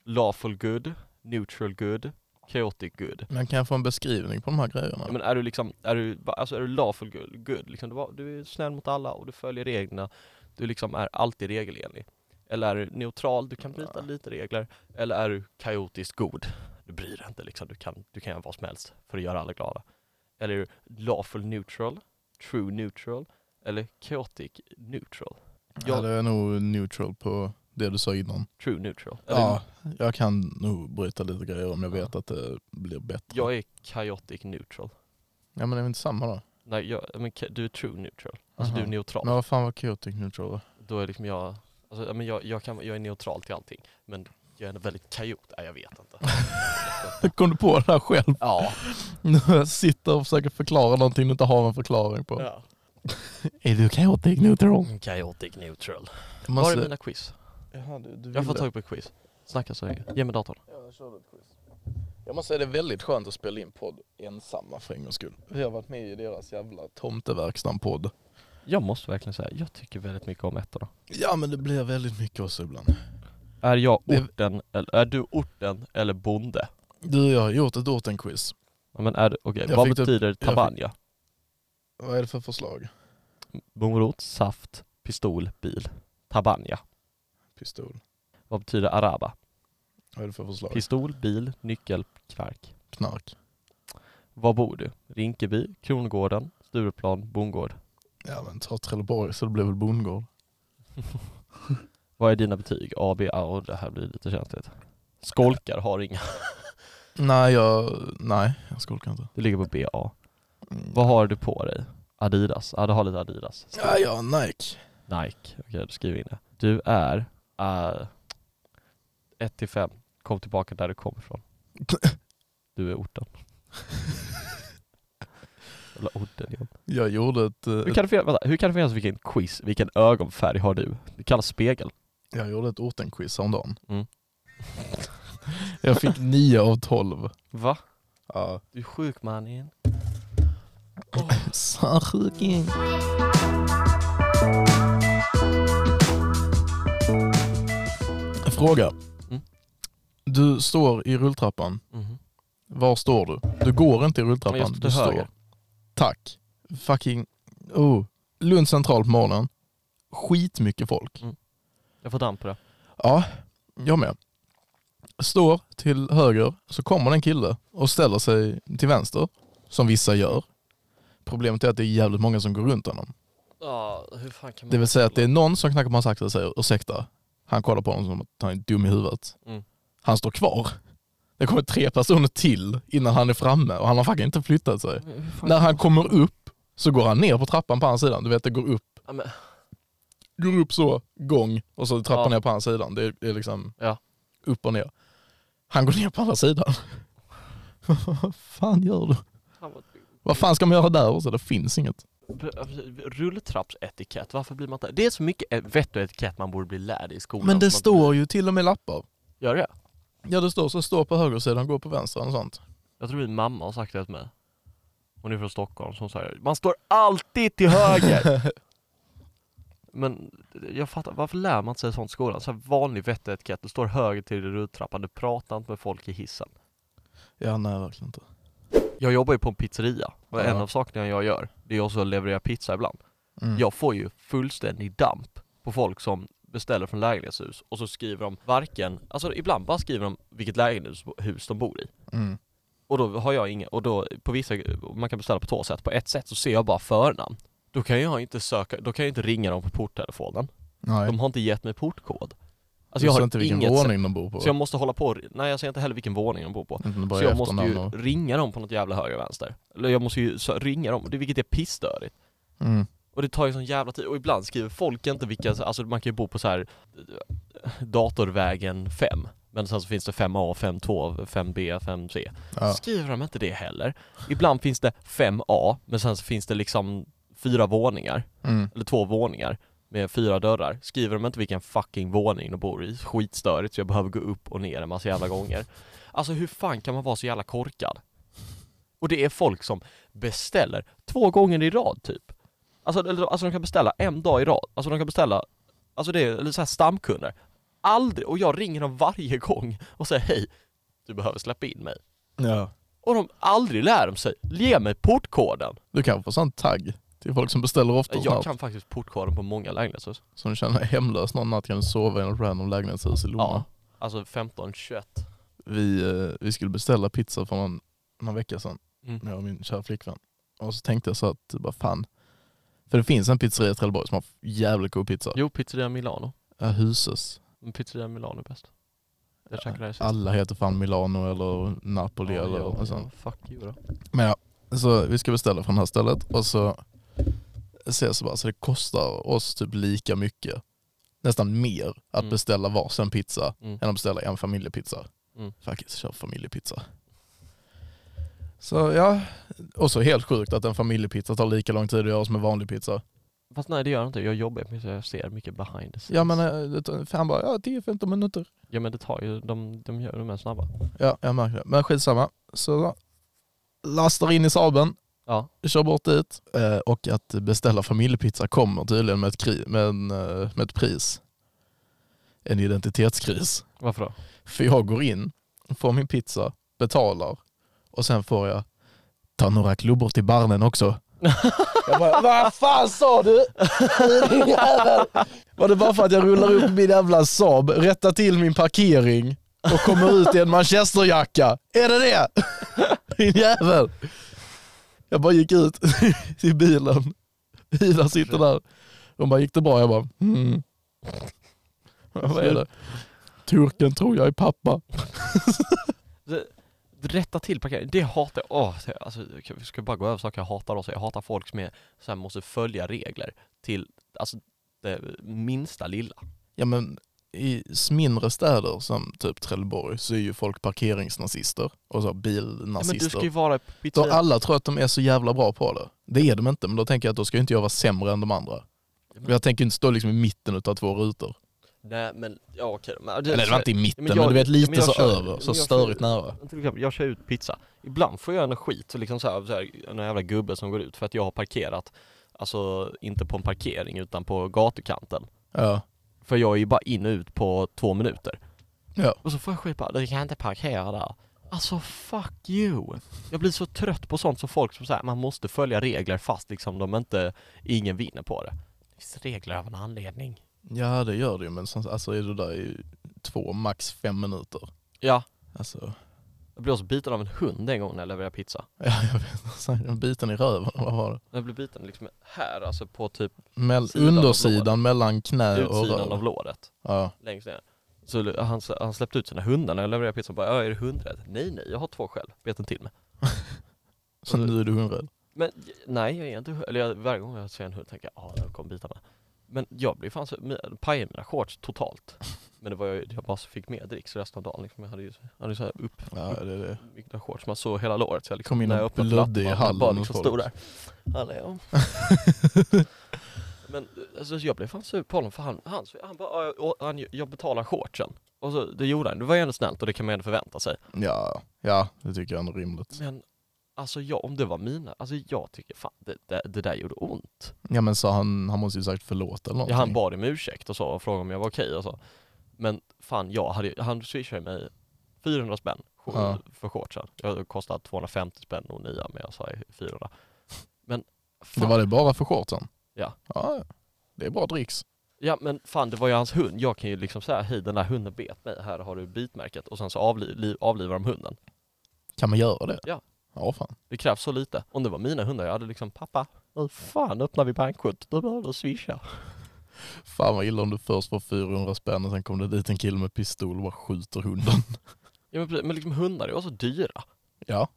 Speaker 2: lawful good, neutral good, chaotic good?
Speaker 1: men kan jag få en beskrivning på de här
Speaker 2: Ja,
Speaker 1: grejerna?
Speaker 2: men är du liksom, är du, va- alltså är du lawful good, good liksom, du, var, du är snäll mot alla och du följer reglerna, du liksom är alltid regelenlig. Eller är du neutral, du kan bryta
Speaker 1: Ja.
Speaker 2: lite regler. Eller är du kaotiskt god, du bryr dig inte liksom, du kan, du kan göra vad som helst för att göra alla glada. Eller är du lawful neutral, true neutral, eller chaotic neutral.
Speaker 1: Ja, det är nog neutral på det du sa innan.
Speaker 2: True neutral. Eller,
Speaker 1: Ja, jag kan nog bryta lite grejer om jag vet att det blir bättre.
Speaker 2: Jag är chaotic neutral.
Speaker 1: Ja men det är väl inte samma då?
Speaker 2: Nej, jag, men ka- du är true neutral. Alltså
Speaker 1: Aha.
Speaker 2: du är neutral.
Speaker 1: Men vad fan var chaotic neutral då?
Speaker 2: Då är liksom jag, alltså, ja, men jag, jag, kan, jag är neutral till allting. Men jag är väldigt kajot. Nej, jag vet inte.
Speaker 1: Kom du på det här själv?
Speaker 2: ja.
Speaker 1: Jag Sitter och försöker förklara någonting du inte har en förklaring på.
Speaker 2: ja.
Speaker 1: Är du chaotic neutral?
Speaker 2: Chaotic Mm, neutral.
Speaker 1: Jag
Speaker 2: Var
Speaker 1: måste-
Speaker 2: är mina quiz?
Speaker 1: Jaha, du, du
Speaker 2: Jag får
Speaker 1: ville.
Speaker 2: tag på ett quiz. Snacka så länge. Ge mig datorn.
Speaker 1: Jag måste säga det är väldigt skönt att spela in podd ensamma för en gångs skull. Vi har varit med i deras jävla tomteverkstan-podd.
Speaker 2: Jag måste verkligen säga, jag tycker väldigt mycket om ettorna.
Speaker 1: Ja men det blir väldigt mycket oss ibland.
Speaker 2: Är jag
Speaker 1: Det-
Speaker 2: orten, eller, är du orten eller bonde?
Speaker 1: Du, jag har gjort ett orten-quiz.
Speaker 2: Ja, men är du, okej,
Speaker 1: Jag
Speaker 2: vad
Speaker 1: fick typ-
Speaker 2: betyder
Speaker 1: fick-
Speaker 2: tabanja?
Speaker 1: Vad är det för förslag?
Speaker 2: Morot, saft, pistol, bil. Tabanja.
Speaker 1: Pistol.
Speaker 2: Vad betyder araba?
Speaker 1: Vad är det för förslag?
Speaker 2: Pistol, bil, nyckel, knark.
Speaker 1: Knark.
Speaker 2: Var bor du? Rinkeby, Krongården, Stureplan, Bondgård.
Speaker 1: Ja men ta Trelleborg så det blir väl bondgård.
Speaker 2: Vad är dina betyg? A, B, A och det här blir lite känsligt. Skolkar har inga.
Speaker 1: Nej jag, nej jag skolkar inte.
Speaker 2: Du ligger på B, A.
Speaker 1: Mm.
Speaker 2: Vad har du på dig? Adidas? Ja, du har lite Adidas.
Speaker 1: Ja, jag har Nike.
Speaker 2: Nike. Okej, du skriver in det. Du är... Uh, 1 till 5. Kom tillbaka där du kommer ifrån. Du är orten. Eller orten igen.
Speaker 1: Jag gjorde ett, eh,
Speaker 2: Hur
Speaker 1: ett,
Speaker 2: kan, det, fin- vänta, hur kan det finnas vilken quiz, vilken ögonfärg har du? Det kallas spegel.
Speaker 1: jag gjorde ett orten-quiz häromdagen.
Speaker 2: Mm.
Speaker 1: jag fick 9 av 12.
Speaker 2: Va?
Speaker 1: Ja.
Speaker 2: Du är sjuk Mm. mannen.
Speaker 1: Sjuking. Fråga.
Speaker 2: Mm.
Speaker 1: Du står i rulltrappan. Var står du? Du går inte i
Speaker 2: Men jag
Speaker 1: rulltrappan.
Speaker 2: står
Speaker 1: Du
Speaker 2: till
Speaker 1: står.
Speaker 2: höger.
Speaker 1: Tack. Fucking... Oh. Lund central på morgonen. Skitmycket folk.
Speaker 2: Jag får damp på det.
Speaker 1: Ja, jag med. Står till höger, så kommer den kille och ställer sig till vänster, som vissa gör. Problemet är att det är jävligt många som går runt honom.
Speaker 2: Ja, hur fan kan man...
Speaker 1: Det vill säga att det är någon som knackar på hans axel och säger ursäkta. Han kollar på honom som att han är dum i huvudet.
Speaker 2: Mm.
Speaker 1: Han står kvar. Det kommer tre personer till innan han är framme och han har fucking inte flyttat sig. När han kommer upp så går han ner på trappan på hans sidan. Du vet det går upp,
Speaker 2: Ja, men,
Speaker 1: går upp så, gång och så trappan
Speaker 2: Ja.
Speaker 1: ner på hans sidan. Det är, det är liksom
Speaker 2: Ja.
Speaker 1: upp och ner. Han går ner på andra sidan. Vad fan gör du?
Speaker 2: fan vad...
Speaker 1: Vad fan ska man göra där också? Det finns inget.
Speaker 2: Rulltrappsetikett, varför blir man inte... Det är så mycket eh, vett och etikett man borde bli lärd i skolan.
Speaker 1: Men det
Speaker 2: som man inte
Speaker 1: står ju till och med lappar.
Speaker 2: blir. Gör det?
Speaker 1: Ja det står så står på högersidan, går på vänster och sånt.
Speaker 2: Jag tror min mamma har sagt det till mig. Hon är från Stockholm, som säger man står alltid till höger! Men jag fattar, varför lär man sig sånt i skolan? Så här vanlig vett och etikett, du står höger till din rulltrappa, du pratar inte med folk i hissen.
Speaker 1: Ja nej verkligen inte.
Speaker 2: Jag jobbar ju på en pizzeria, och en
Speaker 1: Ja.
Speaker 2: av sakerna jag gör, det är också att leverera pizza ibland.
Speaker 1: Mm.
Speaker 2: Jag får ju fullständig damp på folk som beställer från lägenhetshus, och så skriver de varken, alltså ibland bara skriver de vilket lägenhetshus de bor i.
Speaker 1: Mm.
Speaker 2: Och då har jag inga, och då på vissa, man kan beställa på två sätt, på ett sätt så ser jag bara förnamn. Då kan jag inte söka, då kan jag inte ringa dem på porttelefonen.
Speaker 1: Nej.
Speaker 2: De har inte gett mig portkod.
Speaker 1: Du
Speaker 2: Alltså jag
Speaker 1: ser
Speaker 2: har
Speaker 1: inte vilken
Speaker 2: inget sätt,
Speaker 1: våning de bor på.
Speaker 2: så jag måste hålla på, och- nej jag ser inte heller vilken våning de bor på.
Speaker 1: Inte bara
Speaker 2: Så jag måste
Speaker 1: efternamn
Speaker 2: ju ringa dem på något jävla höger och vänster. Eller jag måste ju sö- ringa dem, det- vilket är pissstörigt.
Speaker 1: och... mm.
Speaker 2: Och det tar ju sån jävla tid, och ibland skriver folk inte vilka, alltså man kan ju bo på så här eh, Datorvägen 5 Men sen så finns det 5A, 5.2, 5B, 5C
Speaker 1: ja.
Speaker 2: Skriver de inte det heller? Ibland finns det 5A, men sen så finns det liksom fyra våningar,
Speaker 1: mm.
Speaker 2: eller två våningar med fyra dörrar. Skriver de inte vilken fucking våning de bor i, skitstörigt så jag behöver gå upp och ner en massa jävla gånger. Alltså hur fan kan man vara så jävla korkad? Och det är folk som beställer två gånger i rad typ. Alltså, eller, alltså de kan beställa en dag i rad, alltså de kan beställa, alltså det är eller så här stamkunder. Aldrig, och jag ringer dem varje gång och säger hej, du behöver släppa in mig.
Speaker 1: ja.
Speaker 2: Och de aldrig lär de sig. Ge mig portkoden.
Speaker 1: Du kan få sån tagg till folk som beställer ofta och
Speaker 2: Jag
Speaker 1: snart.
Speaker 2: kan faktiskt portkoden på många lägenhetshus.
Speaker 1: Så du känner dig hemlös någon natt kan du sova i något random lägenhetshus i Lomma.
Speaker 2: Ja. Alltså 15, 21.
Speaker 1: Vi, eh, vi skulle beställa pizza för någon, någon vecka sedan,
Speaker 2: Mm.
Speaker 1: jag och min kära flickvän. Och så tänkte jag så att, vad fan. För det finns en pizzeria i Trelleborg som har jävligt god pizza.
Speaker 2: Jo, pizzeria Milano.
Speaker 1: Ja, Huses.
Speaker 2: Men pizzeria Milano är bäst. Jag käkade där sist.
Speaker 1: Alla heter fan Milano eller Napoli
Speaker 2: Ja,
Speaker 1: eller
Speaker 2: ja,
Speaker 1: och sånt.
Speaker 2: ja, Fuck you då.
Speaker 1: Men ja, så vi ska beställa från det här stället och så ses det bara, så det kostar oss typ lika mycket, nästan mer, att
Speaker 2: Mm.
Speaker 1: beställa varsin pizza
Speaker 2: Mm.
Speaker 1: än att beställa en familjepizza.
Speaker 2: Mm.
Speaker 1: Faktiskt, kör familjepizza. Så ja, och så helt sjukt att en familjepizza tar lika lång tid att göra som en vanlig pizza.
Speaker 2: Fast nej det gör jag inte, jag jobbar med så jag ser mycket behind the scenes.
Speaker 1: Ja men eh, det- fan bara, ja 10-15 minuter.
Speaker 2: ja men det tar ju, de, de gör de är snabba.
Speaker 1: Ja, jag märker det. Men skitsamma. Så lastar in i Saaben,
Speaker 2: Ja,
Speaker 1: kör bort dit eh, och att beställa familjepizza kommer tydligen med ett, kri- med en, eh, med ett pris. En identitetskris.
Speaker 2: varför då?
Speaker 1: För jag går in, får min pizza, betalar och sen får jag ta några klubbor till barnen också. Jag bara, vad fan sa du? Din jävel." Var det bara för att jag rullar upp min jävla Saab, rättar till min parkering och kommer ut i en manchesterjacka? Är det det? Din jävel. Jag bara gick ut till bilen. Ida sitter där. De bara, gick det bra? Jag bara, mm. Vad är det? Turken tror jag är pappa.
Speaker 2: Det- Rätta till parkering, det hatar jag. Åh, det- alltså, vi ska bara gå över saker jag hatar också. Jag hatar folk som är, så här, måste följa regler till alltså, det minsta lilla.
Speaker 1: Ja men i s- mindre städer som typ Trelleborg så är ju folk parkeringsnazister och så
Speaker 2: Ja, men du
Speaker 1: bilnazister.
Speaker 2: ska ju vara på
Speaker 1: då
Speaker 2: pizzeria.
Speaker 1: alla tror att de är så jävla bra på det. Det är de inte, men då tänker jag att då ska ju inte jag vara sämre än de andra.
Speaker 2: men-
Speaker 1: Jag tänker inte stå liksom i mitten utav två rutor.
Speaker 2: Nej men, ja okej. Men,
Speaker 1: Eller det var inte i mitten,
Speaker 2: men
Speaker 1: men,
Speaker 2: jag-
Speaker 1: du vet lite
Speaker 2: men jag
Speaker 1: så
Speaker 2: kör-
Speaker 1: över, så
Speaker 2: men jag
Speaker 1: störigt
Speaker 2: kör-
Speaker 1: nära.
Speaker 2: Till exempel, jag kör ut pizza. Ibland får jag en skit, så liksom så här, så här, en jävla gubbe som går ut för att jag har parkerat, alltså inte på en parkering utan på gatukanten.
Speaker 1: Ja.
Speaker 2: För jag är ju bara in och ut på två minuter.
Speaker 1: Ja.
Speaker 2: Och så får jag skit bara, du kan inte parkera där. Alltså fuck you! Jag blir så trött på sånt som folk som säger man måste följa regler fast liksom de inte, ingen vinner på det. Det finns regler av en anledning.
Speaker 1: ja, det gör det ju, men som- alltså är du där i två, max fem minuter.
Speaker 2: Ja,
Speaker 1: Alltså,
Speaker 2: jag blev också biten av en hund en gång när jag levererade pizza.
Speaker 1: ja, jag vet inte, biten i röven, vad var det?
Speaker 2: Jag blev biten liksom här, alltså på typ
Speaker 1: Mell-
Speaker 2: Sidan av låren.
Speaker 1: undersidan mellan knä Äh, och
Speaker 2: utsidan av
Speaker 1: röv.
Speaker 2: låret.
Speaker 1: Ja.
Speaker 2: Längst ner. Så l- han, s- han släppte ut sina hundar när jag levererade pizzan bara, ja är det hundrätt? Nej nej, jag har två själv, bet en till mig.
Speaker 1: Så nu är du hungrig?
Speaker 2: Men j- nej, jag är inte Eller jag, varje gång jag ser en hund tänker jag, ah den kommer bita mig. Men jag blev fan så, mi- pajade mina shorts totalt. Men det var ju, jag bara fick mer dricks resten av dagen liksom. Jag hade ju, jag hade ju så här upp,
Speaker 1: Ja, det är det.
Speaker 2: mina shorts, man såg hela låret. Så jag liksom,
Speaker 1: Kom in
Speaker 2: när
Speaker 1: och
Speaker 2: jag öppnade
Speaker 1: blödde
Speaker 2: lapparna,
Speaker 1: i
Speaker 2: jag
Speaker 1: hallen
Speaker 2: bara
Speaker 1: hos
Speaker 2: liksom
Speaker 1: folk.
Speaker 2: stod där. Hallå. Men alltså, jag blev fan sur på honom för han, han, han bara, "Ah, jag- och han, jag betalar shortsen. Och så, det gjorde han. Det var ju ändå snällt och det kan man ju ändå förvänta sig.
Speaker 1: Ja, ja, det tycker jag ändå är rimligt.
Speaker 2: Men alltså jag, om det var mina, alltså jag tycker fan det, det, det där gjorde ont.
Speaker 1: Ja men så han, han måste ju sagt förlåt eller
Speaker 2: Ja,
Speaker 1: någonting.
Speaker 2: han bad om ursäkt och så och frågade om jag var okej och så. Men fan, jag hade, ju- han swishade mig 400 spänn sh-
Speaker 1: Ja.
Speaker 2: för shortsen. Jag kostade 250 spänn och nya men jag sa 400. Men fan,
Speaker 1: det var det bara för shortsen?
Speaker 2: Ja.
Speaker 1: ja. Det är bra dricks.
Speaker 2: Ja men fan det var ju hans hund. Jag kan ju liksom säga hej den där hunden bet mig, här har du bitmärket. Och sen så avli- li- avlivar de hunden.
Speaker 1: Kan man göra det?
Speaker 2: Ja.
Speaker 1: Ja fan.
Speaker 2: Det krävs så lite. Om det var mina hundar, jag hade liksom pappa, hur fan öppnar vi bankkontot? Du behöver swisha.
Speaker 1: Fan vad illa om du först får 400 spänn och sen kommer det dit en kille med pistol och bara skjuter hunden.
Speaker 2: Ja, men, precis. men liksom hundar är ju så dyra.
Speaker 1: Ja.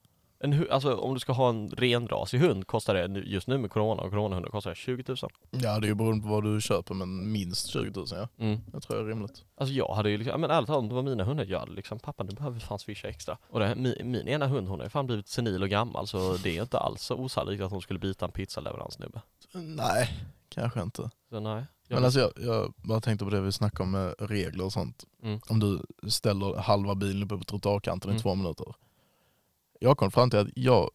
Speaker 2: En, hu- alltså om du ska ha en renrasig hund kostar det nu- just nu med corona och coronahundar kostar det 20 000.
Speaker 1: Ja det är ju beroende på vad du köper men minst 20 000 ja.
Speaker 2: Mm.
Speaker 1: Det tror jag är rimligt.
Speaker 2: Alltså jag hade ju liksom, ja, men ärligt talat om det var mina hundar, jag hade liksom pappa nu behöver vi fan swisha extra. Och det, min, min ena hund hon har ju fan blivit senil och gammal så det är inte alls så osannolikt att hon skulle bita en pizzaleveranssnubbe.
Speaker 1: Nej, kanske inte.
Speaker 2: Så nej. Jag,
Speaker 1: Men alltså jag, jag bara tänkte på det vi snackade om med regler och sånt.
Speaker 2: Mm.
Speaker 1: Om du ställer halva bilen uppe på trottoarkanten
Speaker 2: Mm.
Speaker 1: i två minuter. Jag kom fram till att jag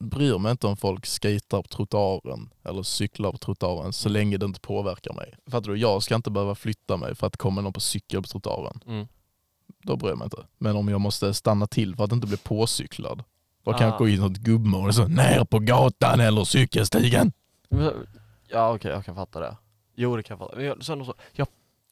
Speaker 1: bryr mig inte om folk skejtar på trottoaren eller cyklar på trottoaren
Speaker 2: Mm.
Speaker 1: så länge det inte påverkar mig. Fattar du? Jag ska inte behöva flytta mig för att komma någon på cykel på trottoaren.
Speaker 2: mm.
Speaker 1: Då bryr jag mig inte. Men om jag måste stanna till för att inte bli påcyklad. Då kan
Speaker 2: Ah.
Speaker 1: jag gå in i något gubbmål och så ner på gatan eller cykelstigen.
Speaker 2: Men- Ja okej, jag kan fatta det. Jo det kan jag fatta. Men jag, sen också, jag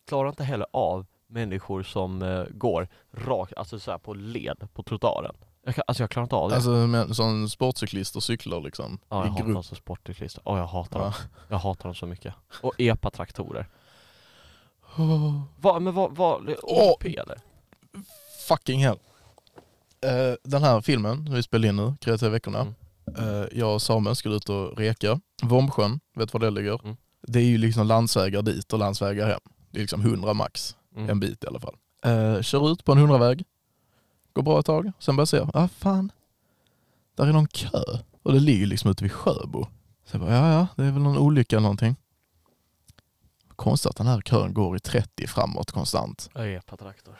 Speaker 2: klarar inte heller av människor som eh, går rakt, alltså så här på led på trottoaren. Jag kan, alltså jag klarar inte av det.
Speaker 1: Alltså men, som sportcyklister cyklar liksom
Speaker 2: Ja, jag
Speaker 1: i
Speaker 2: hatar
Speaker 1: grupp.
Speaker 2: dem som sportcyklister. Ja, jag hatar
Speaker 1: Ja.
Speaker 2: dem. Jag hatar dem så mycket. Och epatraktorer.
Speaker 1: Åh,
Speaker 2: Va, men vad, vad,
Speaker 1: Åh!
Speaker 2: OP eller?
Speaker 1: Fucking hell. Eh, den här filmen som vi spelade in nu, Kreativa veckorna.
Speaker 2: Mm.
Speaker 1: Eh, jag och Samuel skulle ut och reka. Vomsjön, vet var det ligger?
Speaker 2: Mm.
Speaker 1: Det är ju liksom landsvägar dit och landsvägar hem. Det är liksom 100 max,
Speaker 2: Mm.
Speaker 1: en bit i alla fall. Eh, kör ut på en 100-väg, går bra ett tag, sen börjar jag se, ah fan, där är någon kö. Och det ligger liksom ute vid Sjöbo. Så jag bara, ja ja, det är väl någon olycka eller någonting. Konstigt att den här kön går i 30 framåt konstant.
Speaker 2: Epatraktor.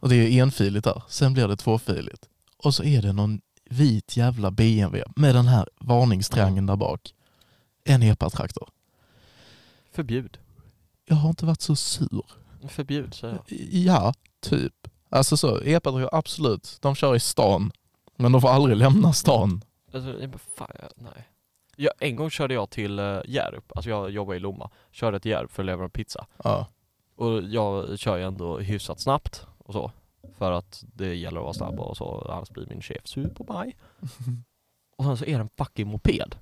Speaker 1: Och det är enfiligt där. Sen blir det tvåfiligt. Och så är det någon vit jävla BMW med den här varningstriangeln där bak. En epatraktor.
Speaker 2: Förbjud.
Speaker 1: Jag har inte varit så sur.
Speaker 2: Förbjud säger jag.
Speaker 1: Ja, typ. Alltså så, epatraktor, absolut. De kör i stan. Men de får aldrig lämna stan.
Speaker 2: Alltså, jag bara, fan, jag, nej. Jag, en gång körde jag till uh, Hjärup, alltså jag jobbar i Lomma. Körde till Hjärup för att leverera pizza.
Speaker 1: Ja.
Speaker 2: Och jag kör ju ändå hyfsat snabbt och så. För att det gäller att vara snabb och så, annars blir min chef sur på mig. Och sen så är det en fucking moped.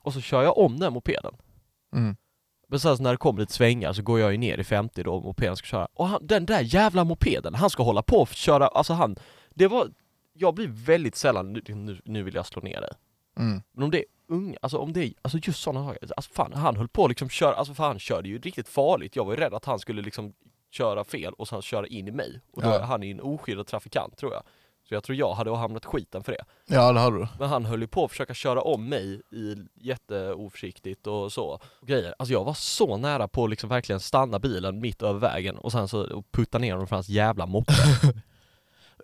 Speaker 2: Och så kör jag om den mopeden.
Speaker 1: Mm.
Speaker 2: Men sen så när det kommer lite svängar så går jag ju ner i 50 då mopeden ska köra. Och han, den där jävla mopeden, han ska hålla på och köra, alltså han, det var, jag blir väldigt sällan, nu, nu, nu vill jag slå ner dig.
Speaker 1: Mm.
Speaker 2: Men om det är unga, alltså om det är, alltså just sådana saker. Alltså fan, han höll på att liksom köra, alltså för han körde ju riktigt farligt. Jag var ju rädd att han skulle liksom köra fel och sen köra in i mig. Och då
Speaker 1: Ja.
Speaker 2: är han ju en oskyddad trafikant tror jag. Så jag tror jag hade hamnat skiten för det.
Speaker 1: Ja, det hade du.
Speaker 2: Men han höll ju på att försöka köra om mig i jätteoförsiktigt och så. Och grejer. Alltså jag var så nära på att liksom verkligen stanna bilen mitt över vägen och sen så och putta ner honom från hans jävla moppe.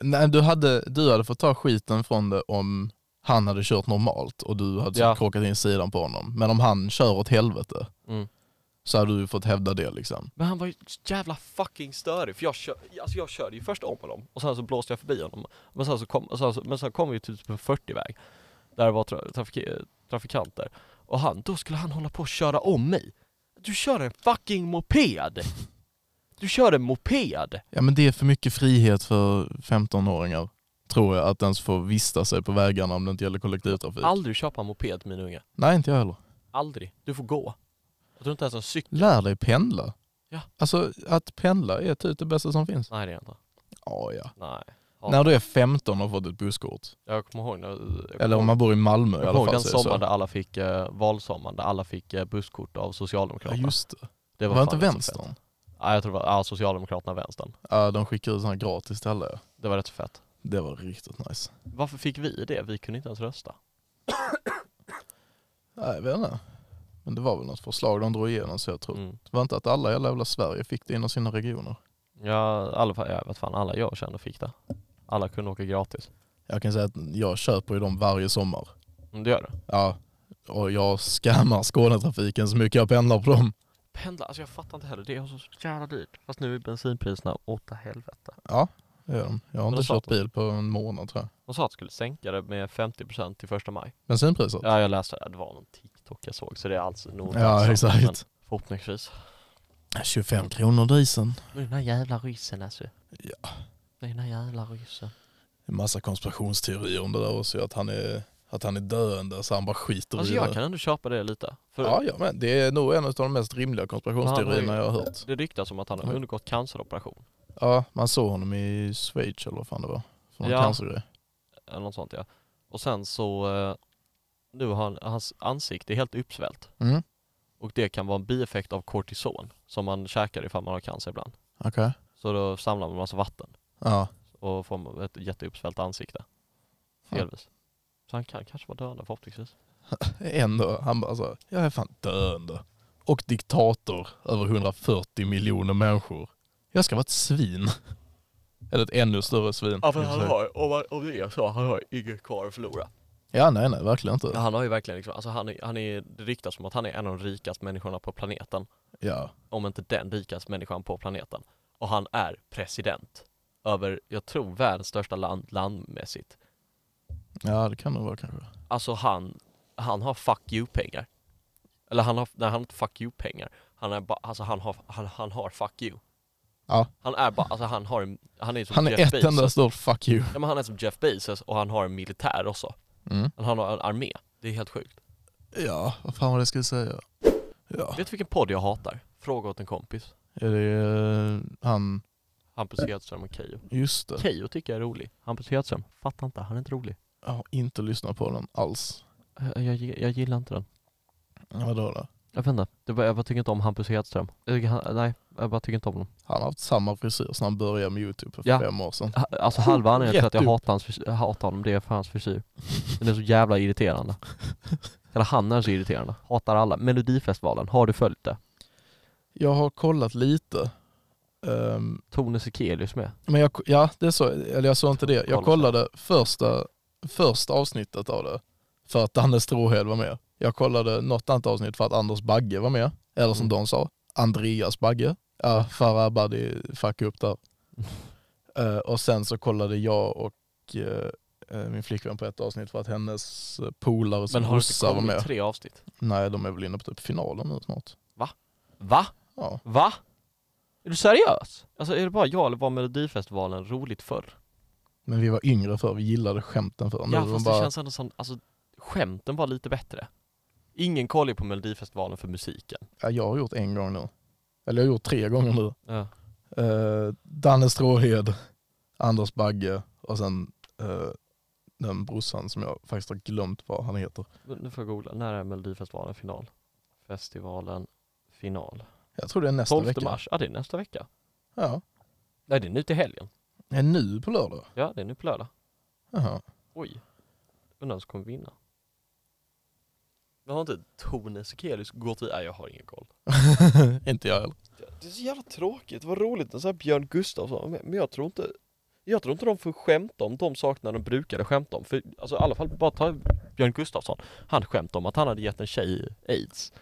Speaker 1: Nej, du hade, du hade fått ta skiten från det om han hade kört normalt och du hade
Speaker 2: Ja.
Speaker 1: ja. krockat in sidan på honom. Men om han kör åt helvete
Speaker 2: Mm.
Speaker 1: så hade du fått hävda det liksom.
Speaker 2: Men han var ju så jävla fucking störig för jag, kör, alltså jag körde ju först om honom och sen så blåste jag förbi honom Men sen så kom, och sen så, men sen kom vi typ på en 40-väg Där det var tra, trafik, eh, trafikanter Och han, då skulle han hålla på och köra om mig Du kör en fucking moped! Du kör en moped!
Speaker 1: Ja men det är för mycket frihet för 15-åringar, tror jag, att ens få vista sig på vägarna om det inte gäller kollektivtrafik.
Speaker 2: Aldrig köpa en moped min unge,
Speaker 1: Nej inte jag heller.
Speaker 2: aldrig. Du får gå Jag tror inte ens en cykel,
Speaker 1: Lär dig pendla.
Speaker 2: Ja.
Speaker 1: Alltså att pendla är typ det bästa som finns.
Speaker 2: nej det är jag inte,
Speaker 1: Ja, ja.
Speaker 2: nej Ja.
Speaker 1: När du är 15 och har fått ett busskort,
Speaker 2: Jag kommer ihåg när, jag kommer
Speaker 1: eller om man bor i Malmö i
Speaker 2: jag
Speaker 1: alla
Speaker 2: kommer
Speaker 1: fall
Speaker 2: ihåg den
Speaker 1: så är det så.
Speaker 2: sommaren där alla fick, eh, valsommaren där alla fick eh, busskort av
Speaker 1: Ja
Speaker 2: Socialdemokraterna
Speaker 1: just det.
Speaker 2: Det
Speaker 1: Var,
Speaker 2: fan
Speaker 1: inte
Speaker 2: så fett.
Speaker 1: vänstern?
Speaker 2: Ja, jag tror det var ja, Socialdemokraterna och vänstern.
Speaker 1: Ja, de skickade ut sådana gratis till alla.
Speaker 2: Det var rätt så fett.
Speaker 1: Det var riktigt nice.
Speaker 2: Varför fick vi det? Vi kunde inte ens rösta.
Speaker 1: Nej, jag vet inte. Men det var väl något förslag de drog igenom så jag tror.
Speaker 2: Mm.
Speaker 1: Det var inte att alla i hela jävla Sverige fick det inom sina regioner.
Speaker 2: Ja, alla, jag vet fan, alla jag kände fick det. Alla kunde åka gratis.
Speaker 1: Jag kan säga att jag köper ju dem varje sommar.
Speaker 2: Mm, det gör det.
Speaker 1: Ja, och jag scammar Skånetrafiken så mycket jag pendlar på dem.
Speaker 2: Pendla, alltså jag fattar inte heller. Det är så jävla dyrt. Fast nu är bensinpriserna åtta helvete.
Speaker 1: Ja, det gör de. Jag har
Speaker 2: Men
Speaker 1: inte
Speaker 2: då
Speaker 1: kört
Speaker 2: satt de.
Speaker 1: bil på en månad tror jag.
Speaker 2: De sa att de skulle sänka det med 50% till första maj.
Speaker 1: Bensinpriset?
Speaker 2: Ja, jag läste det. Det var någon TikTok jag såg, så det är alltså nog
Speaker 1: Ja,
Speaker 2: sant, men
Speaker 1: exakt.
Speaker 2: Förhoppningsvis.
Speaker 1: 25 kronor dieseln.
Speaker 2: Men Den här jävla ryssen alltså.
Speaker 1: Ja.
Speaker 2: Den här jävla ryssen.
Speaker 1: Det är massa konspirationsteorier om det där också. Att han är, att han är döende så han bara skiter
Speaker 2: Alltså
Speaker 1: i det.
Speaker 2: jag kan ändå köpa det lite. För
Speaker 1: Ja, ja, men det är nog en av de mest rimliga konspirationsteorierna
Speaker 2: Ja,
Speaker 1: jag har hört.
Speaker 2: Det ryktas om att han har
Speaker 1: Ja.
Speaker 2: undergått canceroperation.
Speaker 1: Ja, man såg honom i Schweiz eller vad fan det var. För någon
Speaker 2: Ja.
Speaker 1: cancergrej.
Speaker 2: Eller något sånt ja. Och sen så, eh, nu har han, hans ansikte är helt uppsvällt.
Speaker 1: Mm,
Speaker 2: Och det kan vara en bieffekt av kortison som man käkar ifall man har cancer ibland.
Speaker 1: okej.
Speaker 2: Så då samlar man massa vatten
Speaker 1: Ja.
Speaker 2: och får man ett jätteuppsvällt ansikte.
Speaker 1: Ja.
Speaker 2: Delvis. Så han kan kanske vara döende förhoppningsvis.
Speaker 1: Ändå, han bara så, jag är fan döende. Och diktator över 140 miljoner människor. Jag ska vara ett svin. Eller ett ännu större svin.
Speaker 2: har, om, om det är så, han har inget kvar att förlora.
Speaker 1: Ja, nej, nej, verkligen inte.
Speaker 2: Han har ju verkligen liksom, alltså han är, han är, det ryktas som att han är en av de rikaste människorna på planeten.
Speaker 1: Ja.
Speaker 2: om inte den rikaste människan på planeten. Och han är president över, jag tror, världens största land landmässigt.
Speaker 1: ja, det kan det vara kanske.
Speaker 2: Alltså han, han har fuck you-pengar. Eller han har, nej han har inte fuck you-pengar. Han är bara, alltså han har, han, han har fuck you.
Speaker 1: Ja.
Speaker 2: Han är bara, alltså han har, en- han är som
Speaker 1: Han är
Speaker 2: Jeff
Speaker 1: ett
Speaker 2: Bezos.
Speaker 1: enda stort fuck you.
Speaker 2: Ja, men han är som Jeff Bezos och han har en militär också.
Speaker 1: Mm.
Speaker 2: Han har en armé. Det är helt sjukt.
Speaker 1: Ja, vad fan var det jag skulle säga? Ja.
Speaker 2: Vet du vilken podd jag hatar? Fråga åt en kompis.
Speaker 1: Är det eh, han,
Speaker 2: Hampus Hedström och Keyyo.
Speaker 1: just det.
Speaker 2: Keyyo tycker jag är rolig. Hampus Hedström, fattar inte, han är inte rolig.
Speaker 1: Jag har inte lyssnat på den alls.
Speaker 2: Jag, jag, jag gillar inte den.
Speaker 1: Vadå då?
Speaker 2: Jag vet inte, det bara, jag bara tycker inte om Hampus Hedström. Jag tycker han, nej, jag bara tycker inte om honom.
Speaker 1: Han har haft samma frisyr sedan han började med YouTube för
Speaker 2: Ja.
Speaker 1: fem år sedan.
Speaker 2: Ha- Alltså halva anledningen till
Speaker 1: Rätt
Speaker 2: att jag
Speaker 1: upp.
Speaker 2: hatar, hans frisyr, jag hatar honom, det är för hans frisyr. Den är så jävla irriterande. Eller han är så irriterande. Hatar alla. Melodifestivalen, har du följt det?
Speaker 1: Jag har kollat lite. Ehm,
Speaker 2: Tone Sekelius med.
Speaker 1: men jag, ja, det är så, eller jag sa inte det.
Speaker 2: Kolla
Speaker 1: Jag kollade första, första avsnittet av det för att Danne Strohed var med. Jag kollade något annat avsnitt för att Anders Bagge var med. Eller som
Speaker 2: Mm.
Speaker 1: de sa, Andreas Bagge. Ja, Farah Abadi fuckade upp där. Eh, och sen så kollade jag och eh, eh, min flickvän på ett avsnitt för att hennes eh, polare som rossa var med.
Speaker 2: tre avsnitt?
Speaker 1: Nej, de är väl inne på typ finalen nu snart.
Speaker 2: Va?
Speaker 1: Ja.
Speaker 2: Va? Är du seriös? Alltså är det bara jag eller var Melodifestivalen roligt förr?
Speaker 1: Men vi var yngre för vi gillade skämten för Nu
Speaker 2: Ja
Speaker 1: är de
Speaker 2: fast
Speaker 1: bara-
Speaker 2: det känns ändå som, alltså skämten var lite bättre. Ingen kollar ju på Melodifestivalen för musiken.
Speaker 1: ja, jag har gjort en gång nu. Eller jag har gjort tre gånger nu.
Speaker 2: Ja.
Speaker 1: Eh, Danne Stråhed, Anders Bagge och sen eh, den brorsan som jag faktiskt har glömt vad han heter.
Speaker 2: Men Nu får jag googla, när är Melodifestivalen final? Festivalen final.
Speaker 1: Jag tror det är nästa
Speaker 2: 12
Speaker 1: vecka.
Speaker 2: mars, ja det är nästa vecka.
Speaker 1: Ja.
Speaker 2: Nej det är nu till helgen.
Speaker 1: Är nu på lördag?
Speaker 2: Ja det är nu på lördag.
Speaker 1: Jaha.
Speaker 2: Oj. Undrar vem som kommer vinna. Men har inte Tone Sekelius gått i? Nej jag har ingen koll.
Speaker 1: inte jag heller.
Speaker 2: Det är så jävla tråkigt, vad roligt när så här Björn Gustafsson, men men jag tror inte jag tror inte de får skämta om de sakerna de brukade skämta om, för alltså, i alla fall bara ta Björn Gustafsson Han skämtade om att han hade gett en tjej aids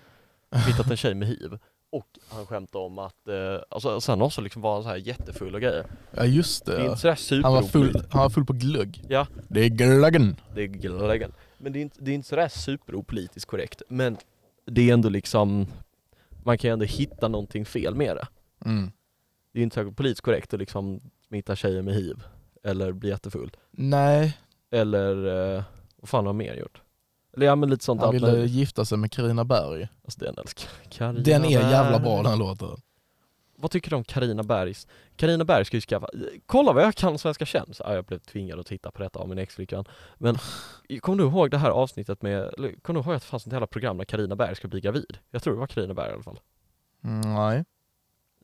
Speaker 2: Hittat en tjej med hiv Och han skämtade om att, eh, alltså sen också liksom var han så här jättefull och grejer
Speaker 1: Ja just
Speaker 2: Det är
Speaker 1: det.
Speaker 2: inte sådär super
Speaker 1: Han var, full, han var full på glögg.
Speaker 2: Ja.
Speaker 1: Det är glöggen.
Speaker 2: Det är glöggen Men det är inte, det är inte sådär superopolitiskt korrekt, men det är ändå liksom Man kan ju ändå hitta någonting fel med det
Speaker 1: Mm.
Speaker 2: det är ju inte särskilt politiskt korrekt att liksom smitta tjejer med hiv eller bli jättefull.
Speaker 1: Nej,
Speaker 2: Eller eh, vad fan har mer gjort? Eller ja men lite sånt
Speaker 1: han ville
Speaker 2: alternativ.
Speaker 1: gifta sig med Carina Berg.
Speaker 2: Alltså den älskar Carina
Speaker 1: Den är jävla
Speaker 2: Berg.
Speaker 1: bra den låten.
Speaker 2: Vad tycker du om Carina Bergs? Carina Berg ska ju skaffa, kolla vad jag kan om Svenska kändisar. Ja, jag blev tvingad att titta på detta av min ex-flickvän. Men kommer du ihåg det här avsnittet med, eller, kommer du ihåg att det fanns ett jävla program där Carina Berg ska bli gravid? Jag tror det var Carina Berg i alla fall.
Speaker 1: Mm, nej.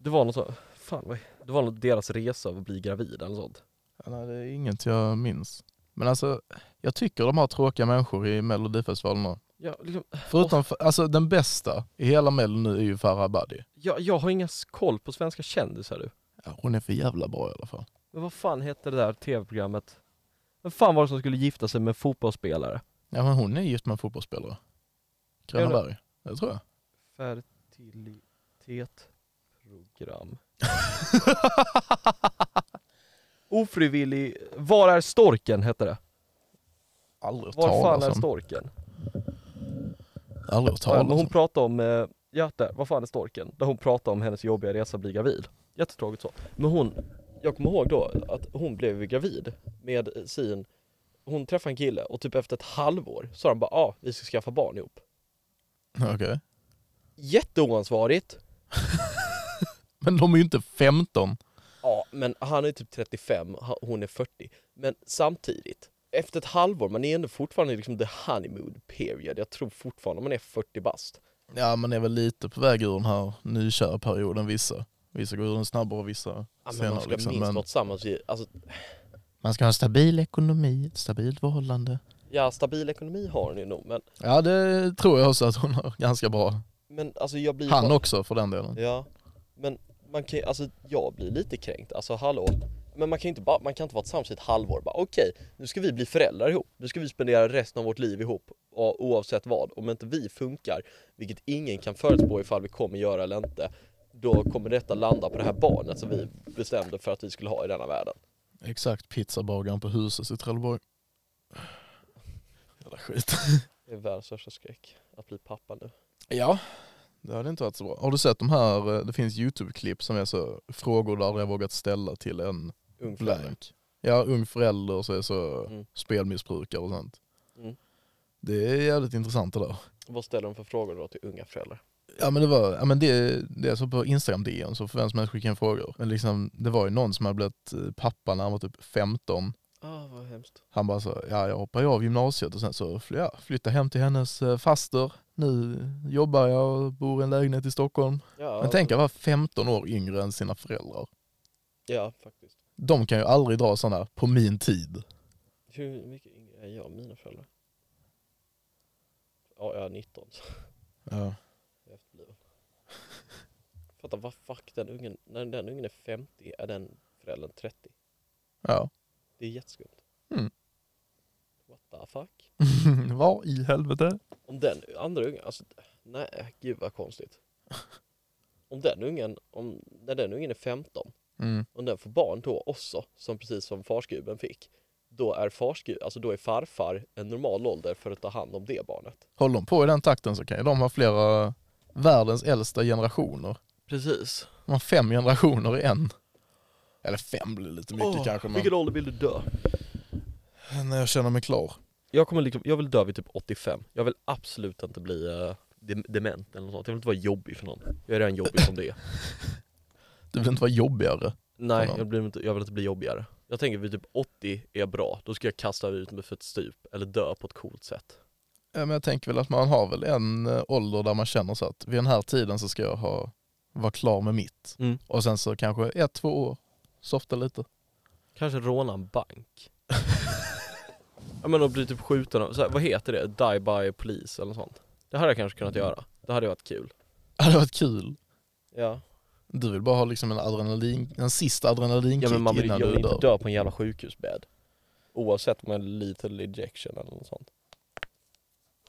Speaker 2: Det var något så, fan vad, det var något deras resa av att bli gravid eller något sånt.
Speaker 1: Ja, Nej, det är inget jag minns. Men alltså, jag tycker de har tråkiga människor i Melodifestivalen nu.
Speaker 2: Ja, liksom,
Speaker 1: Förutom, alltså den bästa i hela Mello nu är ju Farah Abadi.
Speaker 2: Jag, jag har ingen koll på svenska kändisar du.
Speaker 1: Ja, hon är för jävla bra i alla fall.
Speaker 2: Men vad fan hette det där tv-programmet? Vem fan var det som skulle gifta sig med en fotbollsspelare?
Speaker 1: Ja men hon är gift med en fotbollsspelare.
Speaker 2: Är det?
Speaker 1: Grönaberg, det tror jag.
Speaker 2: Fertilitetsprogram. Ofrivillig... Var är storken hette det?
Speaker 1: Aldrig hört
Speaker 2: Var fan är
Speaker 1: talas om.
Speaker 2: storken?
Speaker 1: Aldrig hört
Speaker 2: Ja,
Speaker 1: talas
Speaker 2: men hon
Speaker 1: om.
Speaker 2: pratade om, eh, ja där, vad fan är storken? Där hon pratade om hennes jobbiga resa att bli gravid. Jättetråkigt så. Men hon, jag kommer ihåg då att hon blev ju gravid med sin, hon träffade en kille och typ efter ett halvår sa de bara ja, ah, vi ska skaffa barn ihop.
Speaker 1: Okej.
Speaker 2: Jätteoansvarigt.
Speaker 1: Men de är ju inte 15.
Speaker 2: Ja, men han är typ 35, ha- hon är 40. Men samtidigt, efter ett halvår, man är ändå fortfarande liksom the honeymoon period. Jag tror fortfarande man är 40 bast.
Speaker 1: Ja man är väl lite på väg ur den här nykära perioden vissa. Vissa går ur den snabbare och vissa
Speaker 2: Ja, men man
Speaker 1: senare.
Speaker 2: ska
Speaker 1: Liksom.
Speaker 2: minst
Speaker 1: Men
Speaker 2: vara tillsammans i, alltså
Speaker 1: man ska ha en stabil ekonomi, ett stabilt förhållande.
Speaker 2: Ja, stabil ekonomi har hon ju nog, men,
Speaker 1: Ja det tror jag också att hon har ganska bra.
Speaker 2: men alltså jag blir
Speaker 1: Han
Speaker 2: bara,
Speaker 1: också för den delen.
Speaker 2: Ja, men man kan ju- alltså jag blir lite kränkt, alltså hallå. Men man kan ju inte bara, man kan inte vara tillsammans i ett halvår bara okej, nu ska vi bli föräldrar ihop, nu ska vi spendera resten av vårt liv ihop o- oavsett vad. Om inte vi funkar, vilket ingen kan förutspå ifall vi kommer göra eller inte, då kommer detta landa på det här barnet som vi bestämde för att vi skulle ha i denna världen.
Speaker 1: Exakt pizzabagaren på huset i Trelleborg. Jävla skit.
Speaker 2: Det är världens största skräck, att bli pappa nu.
Speaker 1: Ja, det hade inte varit så bra. Har du sett de här, eh, det finns YouTube-klipp som är så frågor du aldrig har vågat ställa till en
Speaker 2: Ung förälder.
Speaker 1: blank. Ja, ung förälder och så är så
Speaker 2: Mm.
Speaker 1: spelmissbrukare och sånt.
Speaker 2: Mm.
Speaker 1: Det är jävligt intressant det där.
Speaker 2: Vad ställer de för frågor då till unga föräldrar?
Speaker 1: Ja men det var, ja, men det, det är så på Instagram DN så får vem som helst skicka in frågor. Men liksom, det var ju någon som hade blivit eh, pappa när han var typ 15.
Speaker 2: Ah, vad hemskt.
Speaker 1: Han bara så, ja jag hoppar ju av gymnasiet och sen så fly- ja, flyttar hem till hennes eh, faster. Nu jobbar jag och bor i en lägenhet i Stockholm.
Speaker 2: Ja,
Speaker 1: Men tänk att vara 15 år yngre än sina föräldrar.
Speaker 2: Ja, faktiskt.
Speaker 1: De kan ju aldrig dra sådana på min tid.
Speaker 2: Hur mycket yngre är jag mina föräldrar? Ja, jag är 19.
Speaker 1: Ja.
Speaker 2: efterbliven. Fattar vad fuck den ungen, när den ungen är 50 är den föräldern 30.
Speaker 1: ja.
Speaker 2: Det är jätteskumt.
Speaker 1: Mm.
Speaker 2: What the fuck?
Speaker 1: Var i helvete?
Speaker 2: Om den andra ungen, alltså nej gud vad konstigt. Om den ungen, om, när den ungen är 15,
Speaker 1: Mm.
Speaker 2: om den får barn då också, som precis som farsgubben fick, då är farsgub, alltså då är farfar en normal ålder för att ta hand om det barnet.
Speaker 1: Håller de på i den takten så kan ju de ha flera eh, världens äldsta generationer.
Speaker 2: Precis.
Speaker 1: De har fem generationer i en. Eller fem blir lite mycket kanske men
Speaker 2: Vilken ålder vill du dö?
Speaker 1: när jag känner mig klar.
Speaker 2: Jag, kommer liksom, jag vill dö vid typ 85. Jag vill absolut inte bli eh, dem- dement eller något sånt. Jag vill inte vara jobbig för någon. Jag är redan jobbig som det är.
Speaker 1: Du vill inte vara jobbigare.
Speaker 2: Nej,
Speaker 1: någon.
Speaker 2: jag, blir inte, jag vill inte bli jobbigare. Jag tänker vid typ 80 är bra. Då ska jag kasta ut mig för ett stup eller dö på ett coolt sätt.
Speaker 1: Ja, men jag tänker väl att man har väl en eh, ålder där man känner så att vid den här tiden så ska jag ha, vara klar med mitt.
Speaker 2: Mm.
Speaker 1: Och sen så kanske ett, två år, softa lite.
Speaker 2: Kanske råna en bank. ja men och bli typ skjuten av, så här, vad heter det? Die by police eller något sånt. Det hade jag kanske kunnat göra. Det hade varit kul.
Speaker 1: Det hade varit kul.
Speaker 2: Ja.
Speaker 1: Du vill bara ha liksom en, adrenalin, en sista
Speaker 2: Ja
Speaker 1: adrenalinkick
Speaker 2: men man vill,
Speaker 1: innan
Speaker 2: jag
Speaker 1: du
Speaker 2: vill inte
Speaker 1: dör.
Speaker 2: dö på en jävla sjukhusbädd. Oavsett om det är lethal injection eller något sånt.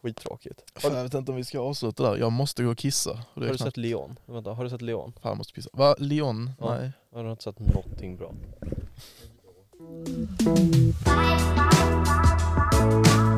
Speaker 2: Skittråkigt. Har,
Speaker 1: Fan, jag vet inte om vi ska avsluta där. Jag måste gå och kissa. Och det
Speaker 2: har
Speaker 1: är
Speaker 2: du
Speaker 1: knappt...
Speaker 2: sett Leon? Vänta, har du sett Leon?
Speaker 1: Fan, jag måste pissa. Va? Leon?
Speaker 2: Ja.
Speaker 1: Nej.
Speaker 2: Jag har inte sett någonting bra.
Speaker 3: Bye.